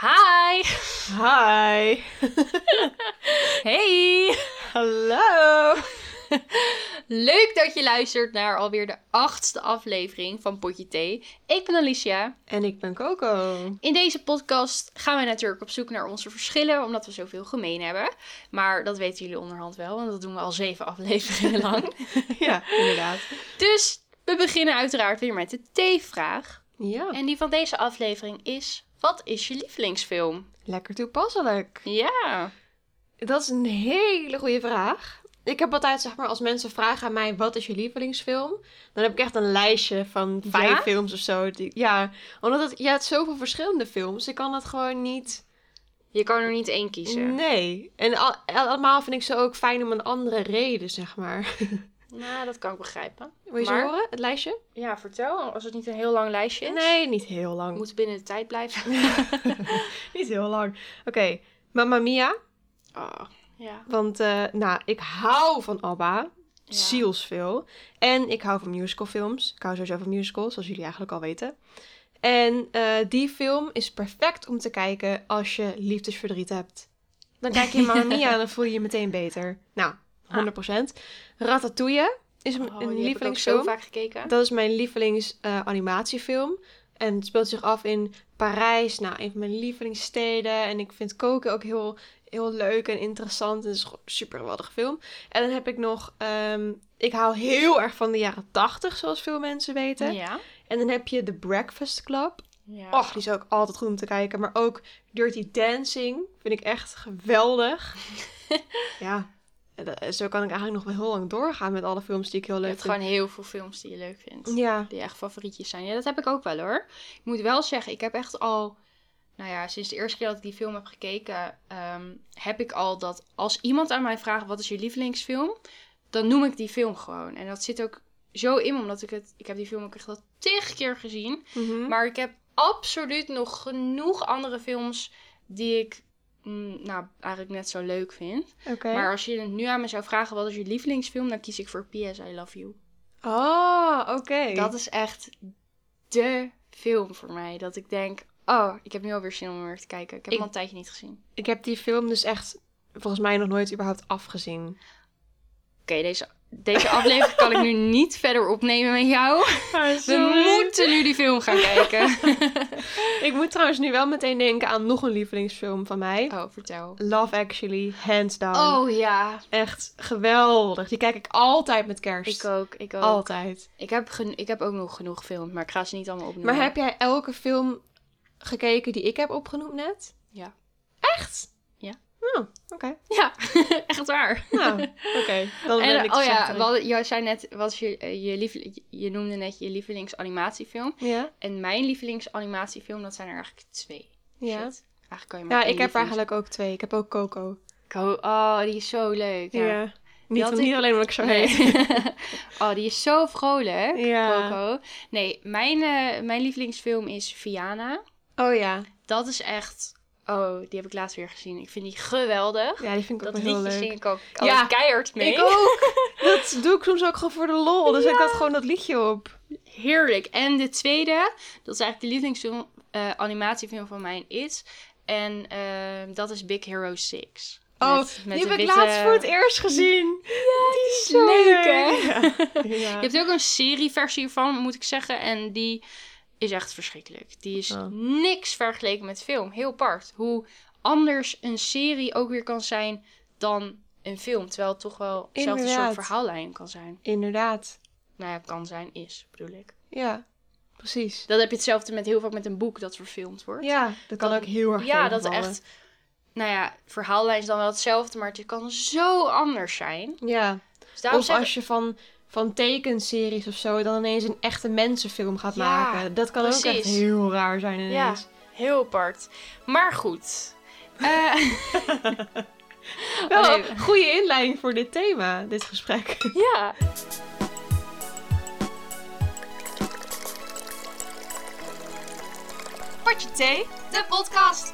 Hi! Hi. Hey! Hallo. Leuk dat je luistert naar alweer de achtste aflevering van Potje Thee. Ik ben Alicia. En ik ben Coco. In deze podcast gaan wij natuurlijk op zoek naar onze verschillen, omdat we zoveel gemeen hebben. Maar dat weten jullie onderhand wel, want dat doen we al zeven afleveringen lang. Ja, inderdaad. Dus we beginnen uiteraard weer met de T-vraag. Ja, En die van deze aflevering is: wat is je lievelingsfilm? lekker toepasselijk. Ja. Dat is een hele goede vraag. Ik heb altijd, zeg maar, als mensen vragen aan mij, wat is je lievelingsfilm? Dan heb ik echt een lijstje van vijf Ja? films of zo. die- ja, omdat het, je hebt zoveel verschillende films. Ik kan dat gewoon niet... Je kan er niet één kiezen. Nee. En al- allemaal vind ik ze ook fijn om een andere reden, zeg maar. Nou, dat kan ik begrijpen. Wil je ze Maar- horen, het lijstje? Ja, vertel, als het niet een heel lang lijstje is. Nee, niet heel lang. We moeten binnen de tijd blijven. Niet heel lang. Oké, Mamma Mia. Oh, ja. Want eh, nou, ik hou van ABBA. Ja. Zielsveel. En ik hou van musicalfilms. Ik hou sowieso van musicals, zoals jullie eigenlijk al weten. En eh, die film is perfect om te kijken als je liefdesverdriet hebt. Dan kijk je Mamma Mia en dan voel je je meteen beter. Nou, 100%. Ratatouille is een, Ah. Oh, die een heb ik ook lievelingsfilm. zo vaak gekeken. Dat is mijn lievelingsanimatiefilm. en het speelt zich af in Parijs. Nou, een van mijn lievelingssteden. En ik vind koken ook heel, heel leuk en interessant. En het is een super geweldige film. En dan heb ik nog... ehm, ik hou heel erg van de jaren tachtig, zoals veel mensen weten. Ja. En dan heb je The Breakfast Club. ja. Och, die is ook altijd goed om te kijken. Maar ook Dirty Dancing vind ik echt geweldig. ja, en dat- zo kan ik eigenlijk nog wel heel lang doorgaan met alle films die ik heel je leuk hebt vind. gewoon heel veel films die je leuk vindt. Ja, Die echt favorietjes zijn. Ja, dat heb ik ook wel hoor. Ik moet wel zeggen, ik heb echt al... Nou ja, sinds de eerste keer dat ik die film heb gekeken... ehm, heb ik al dat als iemand aan mij vraagt... wat is je lievelingsfilm? Dan noem ik die film gewoon. En dat zit ook zo in me, omdat ik het... Ik heb die film ook echt al tig keer gezien. Mhm. Maar ik heb absoluut nog genoeg andere films die ik mm, nou, eigenlijk net zo leuk vind. oké. Maar als je het nu aan me zou vragen wat is je lievelingsfilm, dan kies ik voor PS I Love You. Oh, oké. Dat is echt dé film voor mij. Dat ik denk, oh, ik heb nu alweer zin om hem weer te kijken. Ik heb hem Ik- al een tijdje niet gezien. Oké, Ik heb die film dus echt volgens mij nog nooit überhaupt afgezien. deze, deze aflevering kan ik nu niet verder opnemen met jou. We moeten nu die film gaan kijken. Ik moet trouwens nu wel meteen denken aan nog een lievelingsfilm van mij. oh, vertel. Love Actually, hands down. Oh ja, Echt geweldig. Die kijk ik altijd met kerst. ik ook, ik ook. Oh. Altijd. Maar Ik heb, gen- ik heb ook nog genoeg gefilmd, maar ik ga ze niet allemaal opnoemen. heb jij elke film gekeken die ik heb opgenoemd net? Ja. Echt? Ja. Oh, oké. Ja, echt waar. Nou, oké. Dan ben En, ik oh ja, scepter. wat, jij zei net, wat is je, eh, je, lief, je noemde net je lievelingsanimatiefilm. Ja? En mijn lievelingsanimatiefilm, dat zijn er eigenlijk twee. Ja. Shit. Eigenlijk kan je maar Ja, één ik heb lievelings- eigenlijk ook twee. Ik heb ook Coco. Ko- Oh, die is zo leuk. Ja. Niet, had ik- niet alleen omdat ik zo Nee. heet. oh, die is zo vrolijk. Ja. Coco. Nee, mijn, eh, mijn lievelingsfilm is Viana. Oh ja. Dat is echt... Oh, die heb ik laatst weer gezien. Ik vind die geweldig. Ja, die vind ik ook Dat wel heel liedje leuk. zing ik ook Ja, altijd keihard mee. Ik ook. Dat doe ik soms ook gewoon voor de lol. Dan zet ik dat gewoon dat liedje op. Heerlijk. En de tweede, dat is eigenlijk de lievelingsfilm, eh, animatiefilm van mij is. En ehm, dat is Big Hero 6. Oh, Met- met die de heb ik witte- laatst voor het eerst gezien. die is zo leuk, hè? Ja. Je hebt ook een serieversie van, moet ik zeggen. En die is echt verschrikkelijk. Die is Oh. niks vergeleken met film. Heel apart. Hoe anders een serie ook weer kan zijn dan een film. Terwijl het toch wel hetzelfde soort Inderdaad. verhaallijn kan zijn. Inderdaad. Nou ja, kan zijn, is, bedoel ik. Ja, precies. Dat heb je hetzelfde met heel vaak met een boek dat verfilmd wordt. Ja, dat kan Dat- ook heel erg Ja, dat tegenvallen. echt. Nou ja, verhaallijn is dan wel hetzelfde, maar het kan zo anders zijn. Ja. Dus daarom of zeg ik- als je van, van tekenseries of zo dan ineens een echte mensenfilm gaat Ja, maken. Dat kan ook echt precies. heel raar zijn Ja, ineens. heel apart. Maar goed. Eh, Wel, nee. goede inleiding voor dit thema, dit gesprek. ja. Potje thee, de podcast.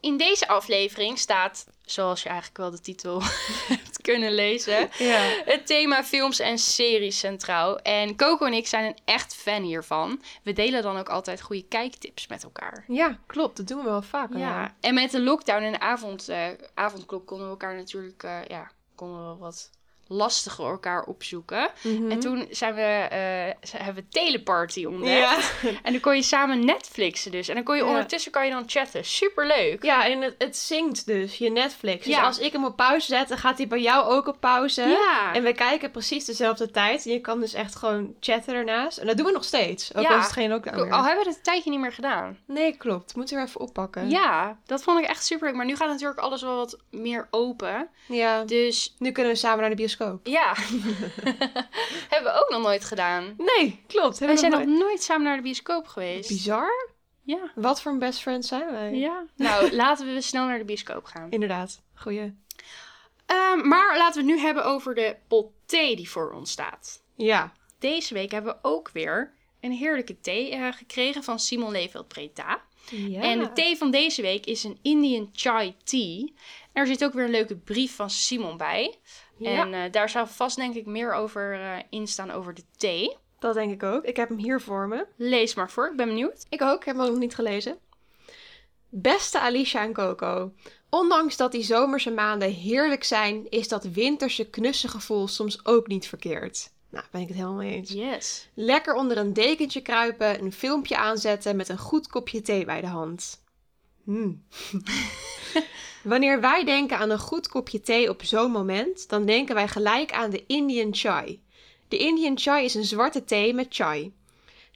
In deze aflevering staat, zoals je eigenlijk wel de titel hebt kunnen lezen. Ja. Het thema films en series centraal. En Coco en ik zijn een echt fan hiervan. We delen dan ook altijd goede kijktips met elkaar. ja, klopt. Dat doen we wel vaker. Oh, ja. En met de lockdown en de avond, eh, avondklok konden we elkaar natuurlijk eh, ja, konden we wat lastiger elkaar opzoeken. Mhm. En toen zijn we, eh, ze- hebben we teleparty ontdekt. Ja. En dan kon je samen Netflixen dus. En dan kon je Ja. ondertussen kan je dan chatten. Superleuk. Ja, en het, het zingt dus, je Netflix. Dus Ja. als ik hem op pauze zet, dan gaat hij bij jou ook op pauze. Ja. En we kijken precies dezelfde tijd. En je kan dus echt gewoon chatten ernaast. En dat doen we nog steeds. Ook Ja. al is het geen lockdown Al meer. hebben we het een tijdje niet meer gedaan. Nee, klopt. Moeten we even oppakken. Ja, dat vond ik echt superleuk. Maar nu gaat natuurlijk alles wel wat meer open. Ja. Dus Nu kunnen we samen naar de bioscoop. ja, hebben we ook nog nooit gedaan. Nee, klopt. We Hebben zijn nog nog nooit samen naar de bioscoop nooit- geweest. Bizar. Ja. Wat voor een best friend zijn wij? ja. Nou, laten we snel naar de bioscoop gaan. Inderdaad. Goeie. Ehm, maar laten we het nu hebben over de pot thee die voor ons staat. Ja. Deze week hebben we ook weer een heerlijke thee eh, gekregen van Simon Leveld Preta. ja. En de thee van deze week is een Indian Chai Tea. En er zit ook weer een leuke brief van Simon bij. Ja, En eh, daar zou vast denk ik meer over eh, in staan over de thee. dat denk ik ook. Ik heb hem hier voor me. Lees maar voor, ik ben benieuwd. Ik ook, ik heb hem ook nog niet gelezen. Beste Alicia en Coco. Ondanks dat die zomerse maanden heerlijk zijn, is dat winterse knusse gevoel soms ook niet verkeerd. Nou, ben ik het helemaal mee eens. Yes. Lekker onder een dekentje kruipen, een filmpje aanzetten met een goed kopje thee bij de hand. Hmm. Wanneer wij denken aan een goed kopje thee op zo'n moment, dan denken wij gelijk aan de Indian Chai. De Indian Chai is een zwarte thee met chai.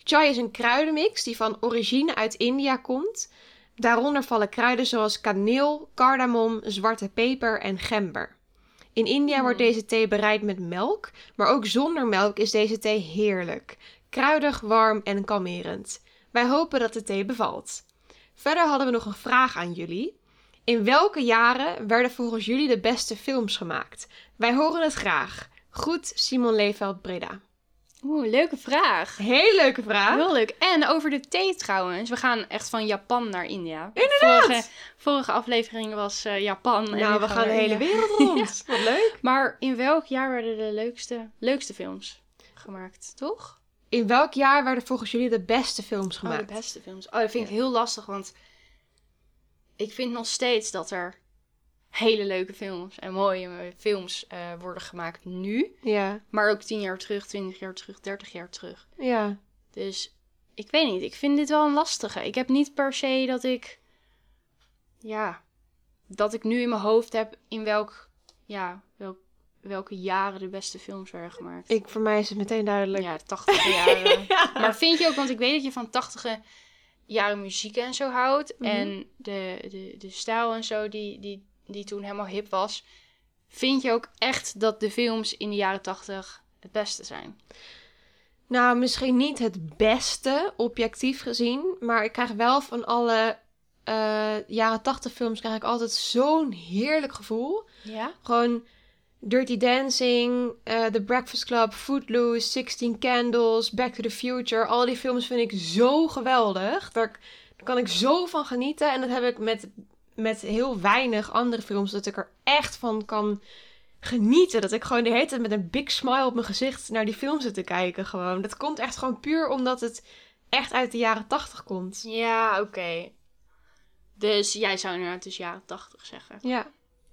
Chai is een kruidenmix die van origine uit India komt. Daaronder vallen kruiden zoals kaneel, cardamom, zwarte peper en gember. In India wordt deze thee bereid met melk, maar ook zonder melk is deze thee heerlijk. Kruidig, warm en kalmerend. Wij hopen dat de thee bevalt. Verder hadden we nog een vraag aan jullie. In welke jaren werden volgens jullie de beste films gemaakt? Wij horen het graag. Goed, Simon Leefeld Breda. Oeh, leuke vraag. Heel leuke vraag. Heel leuk. En over de thee trouwens. We gaan echt van Japan naar India. Inderdaad. Vorige, vorige aflevering was eh, Japan. en nu nou, we gaan de naar hele India. wereld rond. Wat leuk. Maar in welk jaar werden de leukste, leukste films gemaakt, toch? In welk jaar werden volgens jullie de beste films Oh, gemaakt? de beste films. Oh, dat vind ik heel lastig, want ik vind nog steeds dat er hele leuke films en mooie films eh, worden gemaakt nu. Ja, Maar ook tien jaar terug, twintig jaar terug, dertig jaar terug. ja. Dus ik weet niet, ik vind dit wel een lastige. Ik heb niet per se dat ik, ja, dat ik nu in mijn hoofd heb in welk, ja, welk, welke jaren de beste films werden gemaakt. Ik, voor mij is het meteen duidelijk. Ja, 80 jaren. Ja. Maar vind je ook, want ik weet dat je van 80 jaren muziek en zo houdt. Mhm. En de, de, de stijl en zo die, die, die toen helemaal hip was. Vind je ook echt dat de films in de jaren 80 het beste zijn? Nou, misschien niet het beste, objectief gezien. Maar ik krijg wel van alle eh, jaren 80 films krijg ik altijd zo'n heerlijk gevoel. Ja. Gewoon Dirty Dancing, eh, The Breakfast Club, Footloose, 16 Candles, Back to the Future. Al die films vind ik zo geweldig. Daar, daar kan ik zo van genieten. En dat heb ik met, met heel weinig andere films. Dat ik er echt van kan genieten. Dat ik gewoon de hele tijd met een big smile op mijn gezicht naar die film zit te kijken. Gewoon. Dat komt echt gewoon puur omdat het echt uit de jaren 80 komt. Ja, oké. Dus jij zou inderdaad dus jaren 80 zeggen. Ja,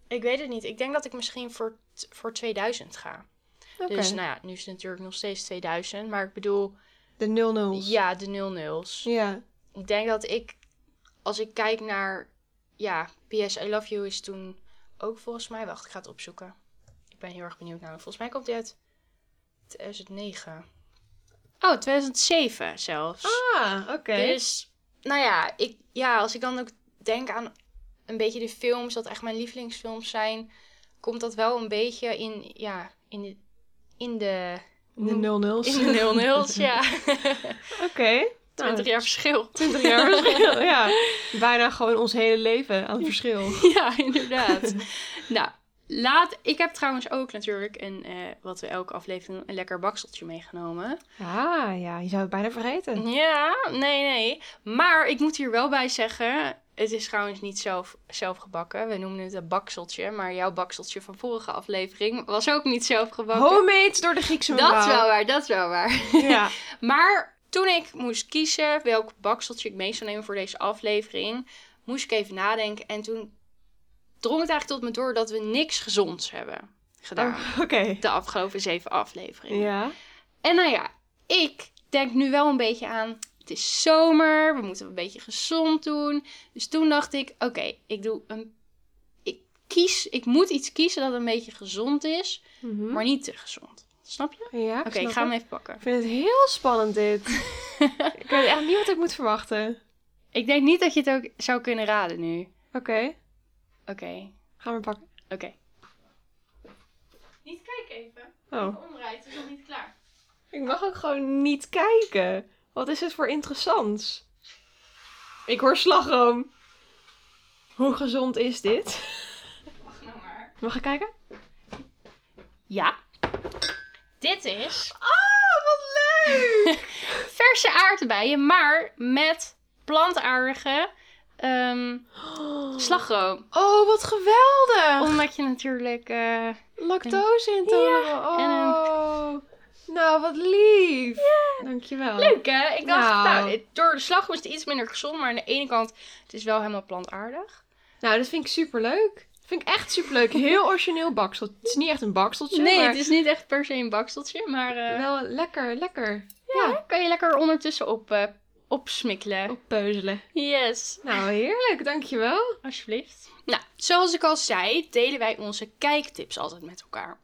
Ik weet het niet. Ik denk dat ik misschien voor, t- voor 2000 ga. oké. Dus nou ja, nu is het natuurlijk nog steeds 2000. Maar ik bedoel, De 00's. ja, de 00's. Ja. Ik denk dat ik, als ik kijk naar, ja, PS I Love You is toen ook volgens mij, wacht, ik ga het opzoeken. Ik ben heel erg benieuwd naar. hem. Volgens mij komt die uit 2009. Oh, 2007 zelfs. Ah, oké. Dus, nou ja, ik, ja, als ik dan ook denk aan een beetje de films, dat echt mijn lievelingsfilms zijn, komt dat wel een beetje in, ja, in de, in de, De 00's. in de 00's, ja. Oké. 20 jaar verschil. 20 jaar verschil, ja. Bijna gewoon ons hele leven aan verschil. Ja, inderdaad. nou, laat. Ik heb trouwens ook natuurlijk een, eh, wat we elke aflevering een lekker bakseltje meegenomen. Mhm. Ah, ja, je zou het bijna vergeten. Ja, nee, nee. Maar ik moet hier wel bij zeggen. Het is trouwens niet zelf, zelf gebakken. We noemen het een bakseltje. Maar jouw bakseltje van vorige aflevering was ook niet zelf gebakken. Homemade door de Griekse dat is wel mevrouw. waar, dat is wel waar. Ja. Maar toen ik moest kiezen welk bakseltje ik mee zou nemen voor deze aflevering, moest ik even nadenken. En toen drong het eigenlijk tot me door dat we niks gezonds hebben gedaan. Oh, Oké. De afgelopen zeven afleveringen. Ja. En nou ja, ik denk nu wel een beetje aan. Het is zomer, we moeten een beetje gezond doen. Dus toen dacht ik, oké, ik doe een. Ik kies, ik moet iets kiezen dat een beetje gezond is, Mhm. maar niet te gezond. Snap je? Ja, Oké, ik ga hem even pakken. Ik vind het heel spannend dit. ik weet echt niet wat ik moet verwachten. Ik denk niet dat je het ook zou kunnen raden nu. Oké, Oké, gaan we pakken. oké. Niet kijken even. Oh, Omdraait, het is nog niet klaar. ik mag ook gewoon niet kijken. Wat is dit voor interessants? Ik hoor slagroom. Hoe gezond is dit? Wacht nou maar. Mag ik kijken? Ja. Dit is Ah, wat leuk! verse aardbeien, maar met plantaardige ehm, slagroom. Oh, wat geweldig! Omdat je natuurlijk... eh, Lactose intolerant. en Oh, nou wat lief. Dankjewel. Leuk hè? Ik dacht, Nou. nou. het- door de slagroom is het iets minder gezond, maar aan de ene kant, het is wel helemaal plantaardig. Nou, dat vind ik superleuk. Dat vind ik echt superleuk. Heel origineel bakseltje. Het is niet echt een bakseltje, Nee, maar het is niet echt per se een bakseltje, maar... eh, wel lekker, lekker. Ja, kan je lekker ondertussen op, eh, opsmikkelen. Oppeuzelen. Yes, Nou, heerlijk, dankjewel. alsjeblieft. Nou, zoals ik al zei, delen wij onze kijktips altijd met elkaar.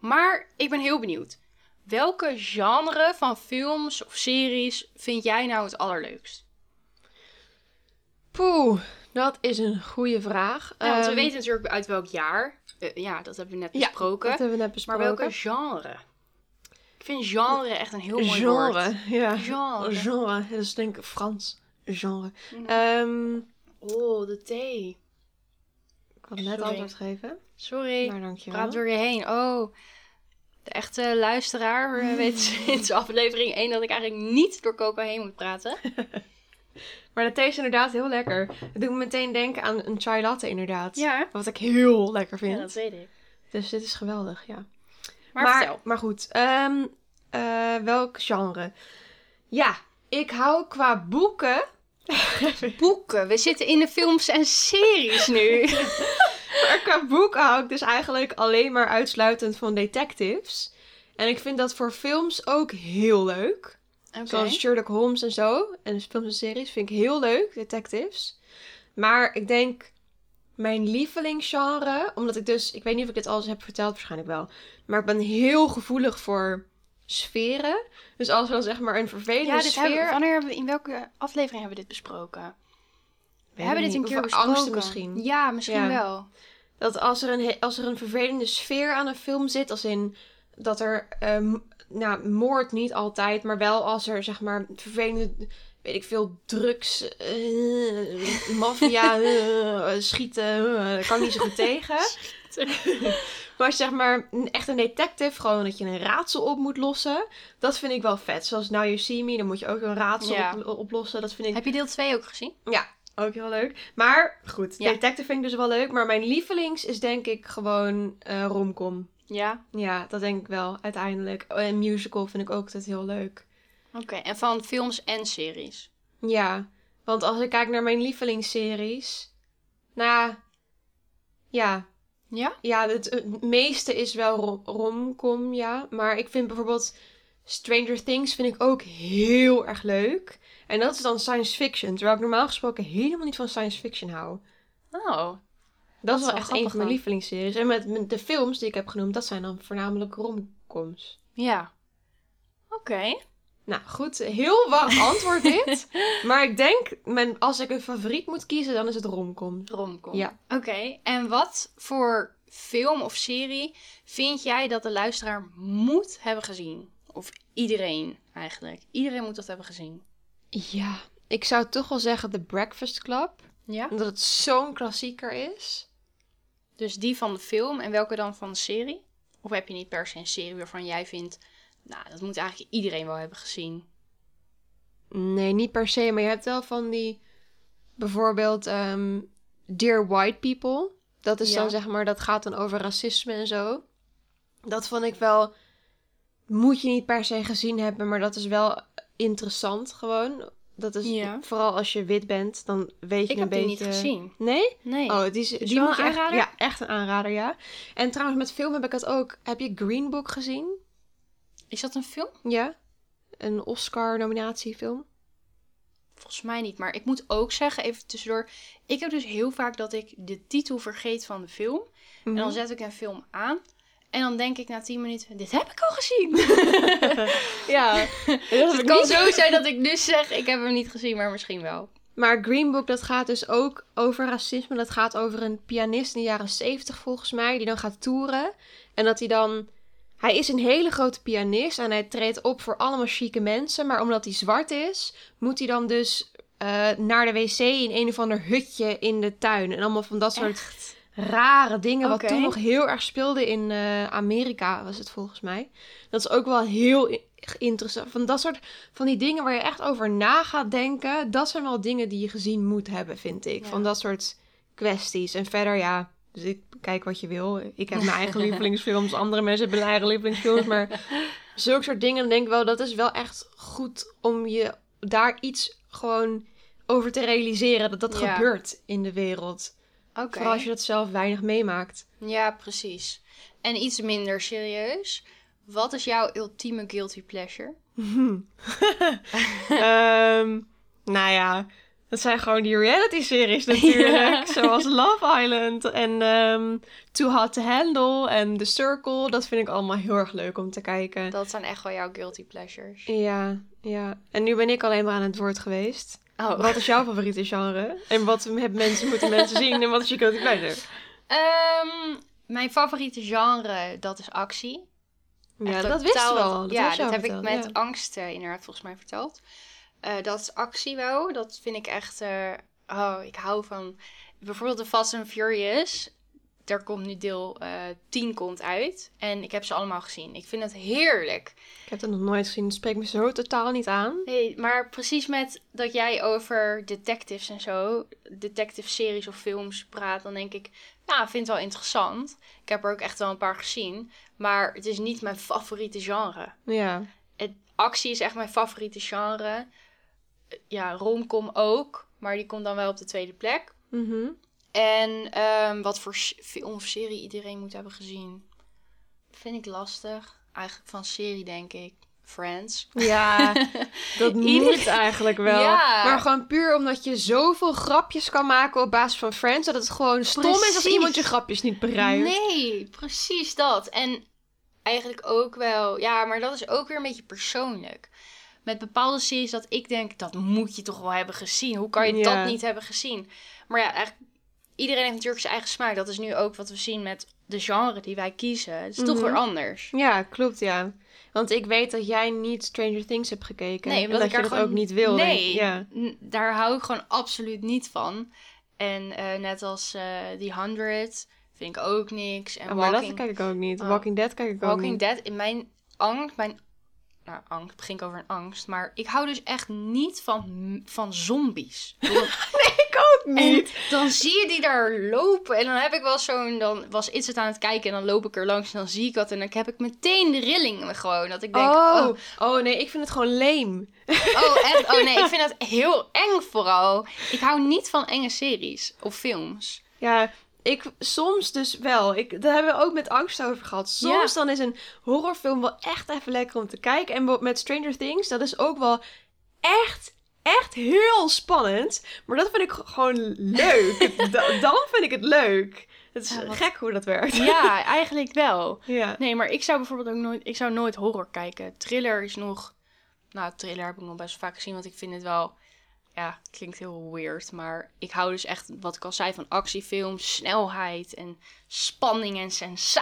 Maar ik ben heel benieuwd. Welke genre van films of series vind jij nou het allerleukst? Poeh, dat is een goede vraag. Ja, Nou, want we Ehm, weten natuurlijk uit welk jaar. Eh, ja, dat hebben we net ja, besproken. dat hebben we net maar besproken. welke genre? Ik vind genre echt een heel mooi genre? woord. Oh, Ja. Genre. Genre, dat is denk ik Frans. Genre. Ja. Ehm, Oh, de thee. ik had net Sorry. antwoord geven, Sorry. maar dankjewel. Praat door je heen. Oh, de echte luisteraar eh, weet sinds aflevering 1 dat ik eigenlijk niet door coca heen moet praten. Maar de thee is inderdaad heel lekker. Het doet me meteen denken aan een chai latte inderdaad. Ja, Wat ik heel lekker vind. dat weet ik. Dus dit is geweldig, ja. Maar, vertel. maar goed, ehm, eh, welk genre? Ja, ik hou qua boeken... Boeken. We zitten in de films en series nu. Maar qua boek hou ik dus eigenlijk alleen maar uitsluitend van detectives. En ik vind dat voor films ook heel leuk. Zoals Sherlock Holmes en zo. En dus films en series vind ik heel leuk, detectives. Maar ik denk mijn lievelingsgenre, omdat ik dus, ik weet niet of ik dit alles heb verteld, waarschijnlijk wel. Maar ik ben heel gevoelig voor sferen. Dus als er dan zeg maar een vervelende Ja, dit sfeer... hebben, wanneer hebben we, in welke aflevering hebben we dit besproken? We Weet hebben ik dit een niet. keer Of voor besproken. angsten misschien. Ja, misschien Ja. wel. Dat als er, een, he- als er een vervelende sfeer aan een film zit, als in dat er, ehm, nou, moord niet altijd, maar wel als er zeg maar vervelende, weet ik veel, drugs, eh, maffia, eh, schieten, eh, dat kan ik niet zo goed tegen. Maar als je, zeg maar een- echt een detective, gewoon dat je een raadsel op moet lossen, dat vind ik wel vet. Zoals Now You See Me, dan moet je ook een raadsel Ja. op- oplossen, dat vind ik Heb je deel 2 ook gezien? ook heel leuk. Maar goed, Ja. detective vind ik dus wel leuk. Maar mijn lievelings is denk ik gewoon eh, romcom. Ja. Ja, dat denk ik wel, uiteindelijk. Oh, En musical vind ik ook altijd heel leuk. Oké, en van films en series. Ja, want als ik kijk naar mijn lievelingsseries... Nou ja, ja, Ja? ja het, het meeste is wel rom- romcom, ja. Maar ik vind bijvoorbeeld Stranger Things vind ik ook heel erg leuk. En dat is dan science fiction, terwijl ik normaal gesproken helemaal niet van science fiction hou. Oh. Dat is is wel wel echt grappig een van dan. mijn lievelingsseries. En met, met de films die ik heb genoemd, dat zijn dan voornamelijk romcoms. Ja. Oké. Nou goed, heel warm antwoord dit. maar ik denk, mijn, als ik een favoriet moet kiezen, dan is het romcoms. Romcom. Ja. Oké, en wat voor film of serie vind jij dat de luisteraar moet hebben gezien? Of iedereen eigenlijk. Iedereen moet dat hebben gezien. Ja, ik zou toch wel zeggen The Breakfast Club. Ja. Omdat het zo'n klassieker is. Dus die van de film en welke dan van de serie? Of heb je niet per se een serie waarvan jij vindt, nou, dat moet eigenlijk iedereen wel hebben gezien? Nee, niet per se, maar je hebt wel van die bijvoorbeeld ehm, Dear White People. Dat is Ja. dan zeg maar, dat gaat dan over racisme en zo. Dat vond ik wel, moet je niet per se gezien hebben, maar dat is wel interessant gewoon. Dat is Ja. vooral als je wit bent, dan weet je Ik een heb beetje. die niet gezien. Nee? Nee. Oh, die, is, die wel moet een je echt- aanrader? ja, echt een aanrader, ja. En trouwens, met film heb ik het ook. Heb je Green Book gezien? Is dat een film? Ja. Een Oscar-nominatiefilm. Volgens mij niet. Maar ik moet ook zeggen, even tussendoor. Ik heb dus heel vaak dat ik de titel vergeet van de film. Mhm. En dan zet ik een film aan. En dan denk ik na 10 minuten, dit heb ik al gezien. Ja. Dus het kan zo zijn dat ik dus zeg, ik heb hem niet gezien, maar misschien wel. Maar Green Book, dat gaat dus ook over racisme. Dat gaat over een pianist in de jaren zeventig, volgens mij, die dan gaat toeren. En dat hij dan... Hij is een hele grote pianist en hij treedt op voor allemaal chique mensen. Maar omdat hij zwart is, moet hij dan dus eh, naar de wc in een of ander hutje in de tuin. En allemaal van dat soort Echt? rare dingen. Oké. Wat toen nog heel erg speelde in eh, Amerika, was het volgens mij. Dat is ook wel heel i- interessant. Van dat soort van die dingen waar je echt over na gaat denken. Dat zijn wel dingen die je gezien moet hebben, vind ik. Ja. Van dat soort kwesties. En verder, ja. Dus ik kijk wat je wil. Ik heb mijn eigen lievelingsfilms. Andere mensen hebben hun eigen lievelingsfilms. Maar zulke soort dingen, dan denk ik wel, dat is wel echt goed om je daar iets gewoon over te realiseren. Dat dat Ja. gebeurt in de wereld. Oké. Vooral als je dat zelf weinig meemaakt. Ja, precies. En iets minder serieus. Wat is jouw ultieme guilty pleasure? Ehm, nou ja, dat zijn gewoon die reality-series natuurlijk. Zoals Love Island en ehm, Too Hot to Handle en The Circle. Dat vind ik allemaal heel erg leuk om te kijken. Dat zijn echt wel jouw guilty pleasures. Ja, ja. En nu ben ik alleen maar aan het woord geweest. Oh. Wat is jouw favoriete genre? En wat hebben mensen, moeten mensen zien? En wat is je guilty pleasure? Ehm, mijn favoriete genre, dat is actie. Ja, Echt dat totaal wist wat- je wel. Dat ja, wist je dat al heb ik verteld, met ja. angst eh, inderdaad volgens mij verteld. Eh, dat is actie wel. Dat vind ik echt... eh, oh, ik hou van... Bijvoorbeeld de Fast and Furious. Daar komt nu deel eh 10 komt uit. En ik heb ze allemaal gezien. Ik vind het heerlijk. Ik heb dat nog nooit gezien. Het spreekt me zo totaal niet aan. Nee, maar precies met dat jij over detectives en zo, detective series of films praat, dan denk ik, nou, ik vind het wel interessant. Ik heb er ook echt wel een paar gezien, maar het is niet mijn favoriete genre. Ja. Het, actie is echt mijn favoriete genre. Ja, romcom ook, maar die komt dan wel op de tweede plek. Mhm. En ehm, wat voor s- film of serie iedereen moet hebben gezien, vind ik lastig. Eigenlijk van serie denk ik, Friends. Ja, dat Ieder- moet eigenlijk wel. Ja. Maar gewoon puur omdat je zoveel grapjes kan maken op basis van Friends, dat het gewoon stom is als Precies. iemand je grapjes niet begrijpt. Nee, precies dat. En eigenlijk ook wel, ja, maar dat is ook weer een beetje persoonlijk. Met bepaalde series dat ik denk, dat moet je toch wel hebben gezien. Hoe kan je Ja. dat niet hebben gezien? Maar ja, eigenlijk, iedereen heeft natuurlijk zijn eigen smaak. Dat is nu ook wat we zien met de genre die wij kiezen. Het is toch Mhm. weer anders. Ja, klopt ja. Want ik weet dat jij niet Stranger Things hebt gekeken. Nee, en omdat dat ik je er dat gewoon- ook niet wil. Nee. Ja. N- Daar hou ik gewoon absoluut niet van. En eh, net als eh The 100 vind ik ook niks. En Oh, maar dat Walking kijk ik ook niet. Oh. Walking Dead kijk ik ook Walking niet. Dead, in mijn angst, mijn... Nou, angst, het begint over een angst. Maar ik hou dus echt niet van, van zombies. Ik ook en dan zie je die daar lopen. En dan heb ik wel zo'n... Dan was iets het aan het kijken en dan loop ik er langs en dan zie ik wat. En dan heb ik meteen de rilling gewoon. Dat ik denk, oh. oh, Oh. nee, ik vind het gewoon leem. oh, echt, oh nee, ik vind dat heel eng vooral. Ik hou niet van enge series of films. Ja, ik soms dus wel. Ik, daar hebben we ook met angst over gehad. Soms dan is een horrorfilm wel echt even lekker om te kijken. En bo- met Stranger Things, dat is ook wel echt, echt heel spannend. Maar dat vind ik g- gewoon leuk. Da- dan vind ik het leuk. Het is Ja, wat- gek hoe dat werkt. Ja, eigenlijk wel. Ja. Nee, maar ik zou bijvoorbeeld ook nooit, ik zou nooit horror kijken. Thriller is nog, nou, thriller heb ik nog best vaak gezien, want ik vind het wel, ja, het klinkt heel weird, maar ik hou dus echt, wat ik al zei, van actiefilms, snelheid en spanning en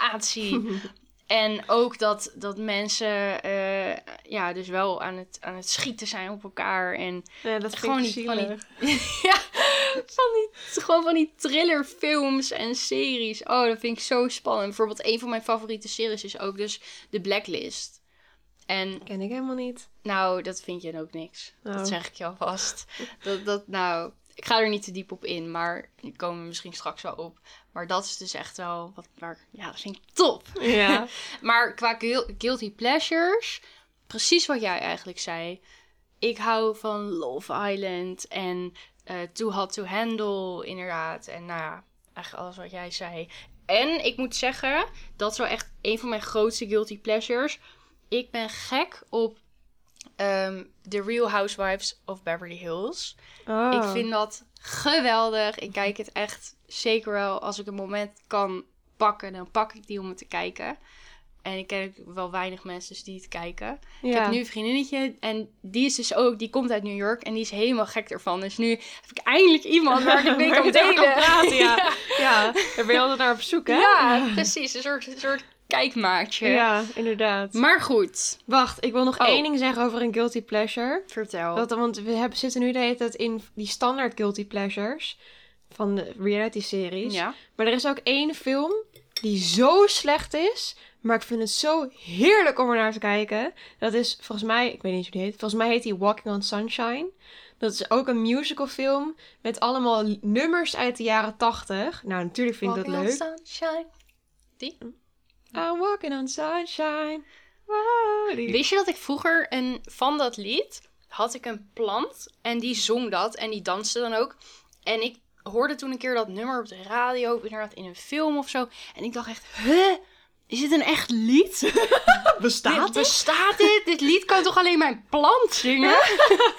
sensatie. en ook dat, dat mensen, eh, ja, dus wel aan het, aan het schieten zijn op elkaar en Ja, dat Gewoon vind ik niet van die- zielig. ja, van die, gewoon van die thrillerfilms en series. Oh, dat vind ik zo spannend. Bijvoorbeeld, een van mijn favoriete series is ook dus The Blacklist. En Ken ik helemaal niet. nou, dat vind je dan ook niks. Oh. Dat zeg ik je alvast. Dat, dat, nou. Ik ga er niet te diep op in, maar die komen we misschien straks wel op. Maar dat is dus echt wel wat. Waar, ja, dat vind ik top. Ja. Maar qua guil- guilty pleasures, precies wat jij eigenlijk zei. Ik hou van Love Island en eh Too Hot to Handle, inderdaad. En nou ja, eigenlijk alles wat jij zei. En ik moet zeggen, dat is wel echt een van mijn grootste guilty pleasures. Ik ben gek op ehm The Real Housewives of Beverly Hills. Oh. Ik vind dat geweldig. Ik kijk het echt zeker wel. Als ik een moment kan pakken, dan pak ik die om het te kijken. En ik ken ook wel weinig mensen dus die het kijken. Ik Ja. heb nu een vriendinnetje en die is dus ook, die komt uit New York en die is helemaal gek ervan. Dus nu heb ik eindelijk iemand waar ik het mee Waar kan je het over delen. kan praten, ja. Ja, daar ben je altijd naar op zoek, hè? Ja, precies. Een soort, een soort kijkmaatje. Ja, inderdaad. Maar goed, Wacht, ik wil nog Oh. één ding zeggen over een guilty pleasure. vertel. Dat, want we hebben, zitten nu de hele tijd in die standaard guilty pleasures van de reality series. ja. Maar er is ook één film die zo slecht is, maar ik vind het zo heerlijk om er naar te kijken. Dat is volgens mij, ik weet niet hoe die heet, volgens mij heet die Walking on Sunshine. Dat is ook een musical film met allemaal l- nummers uit de jaren tachtig. Nou, natuurlijk vind ik dat Walking leuk. on sunshine. I'm walking on sunshine. Wow, die- Wist je dat ik vroeger een, van dat lied had ik een plant en die zong dat en die danste dan ook. En ik hoorde toen een keer dat nummer op de radio, of inderdaad in een film of zo. En ik dacht echt, huh? Is dit een echt lied? dit, bestaat dit? Dit lied kan toch alleen mijn plant zingen?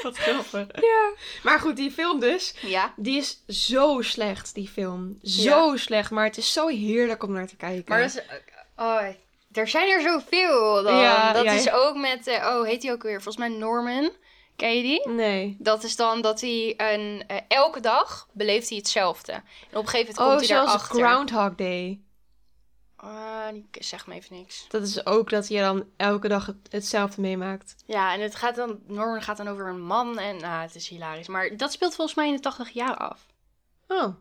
Wat grappig. Ja. Maar goed, die film dus. Ja. Die is zo slecht, die film. Zo slecht, maar het is zo heerlijk om naar te kijken. Maar dat is... Oh, er zijn er zoveel dan. Ja, dat ja. is ook met... eh, oh, heet die ook weer? Volgens mij Norman. Ken je die? Nee. Dat is dan dat hij een, eh, elke dag beleeft hij hetzelfde. En op een gegeven moment Oh, komt hij zoals daarachter. Groundhog Day. Ah, die zeg me even niks. Dat is ook dat je dan elke dag het- hetzelfde meemaakt. Ja, en het gaat dan, Norman gaat dan over een man en ah, het is hilarisch. Maar dat speelt volgens mij in de 80 jaar af. Oh,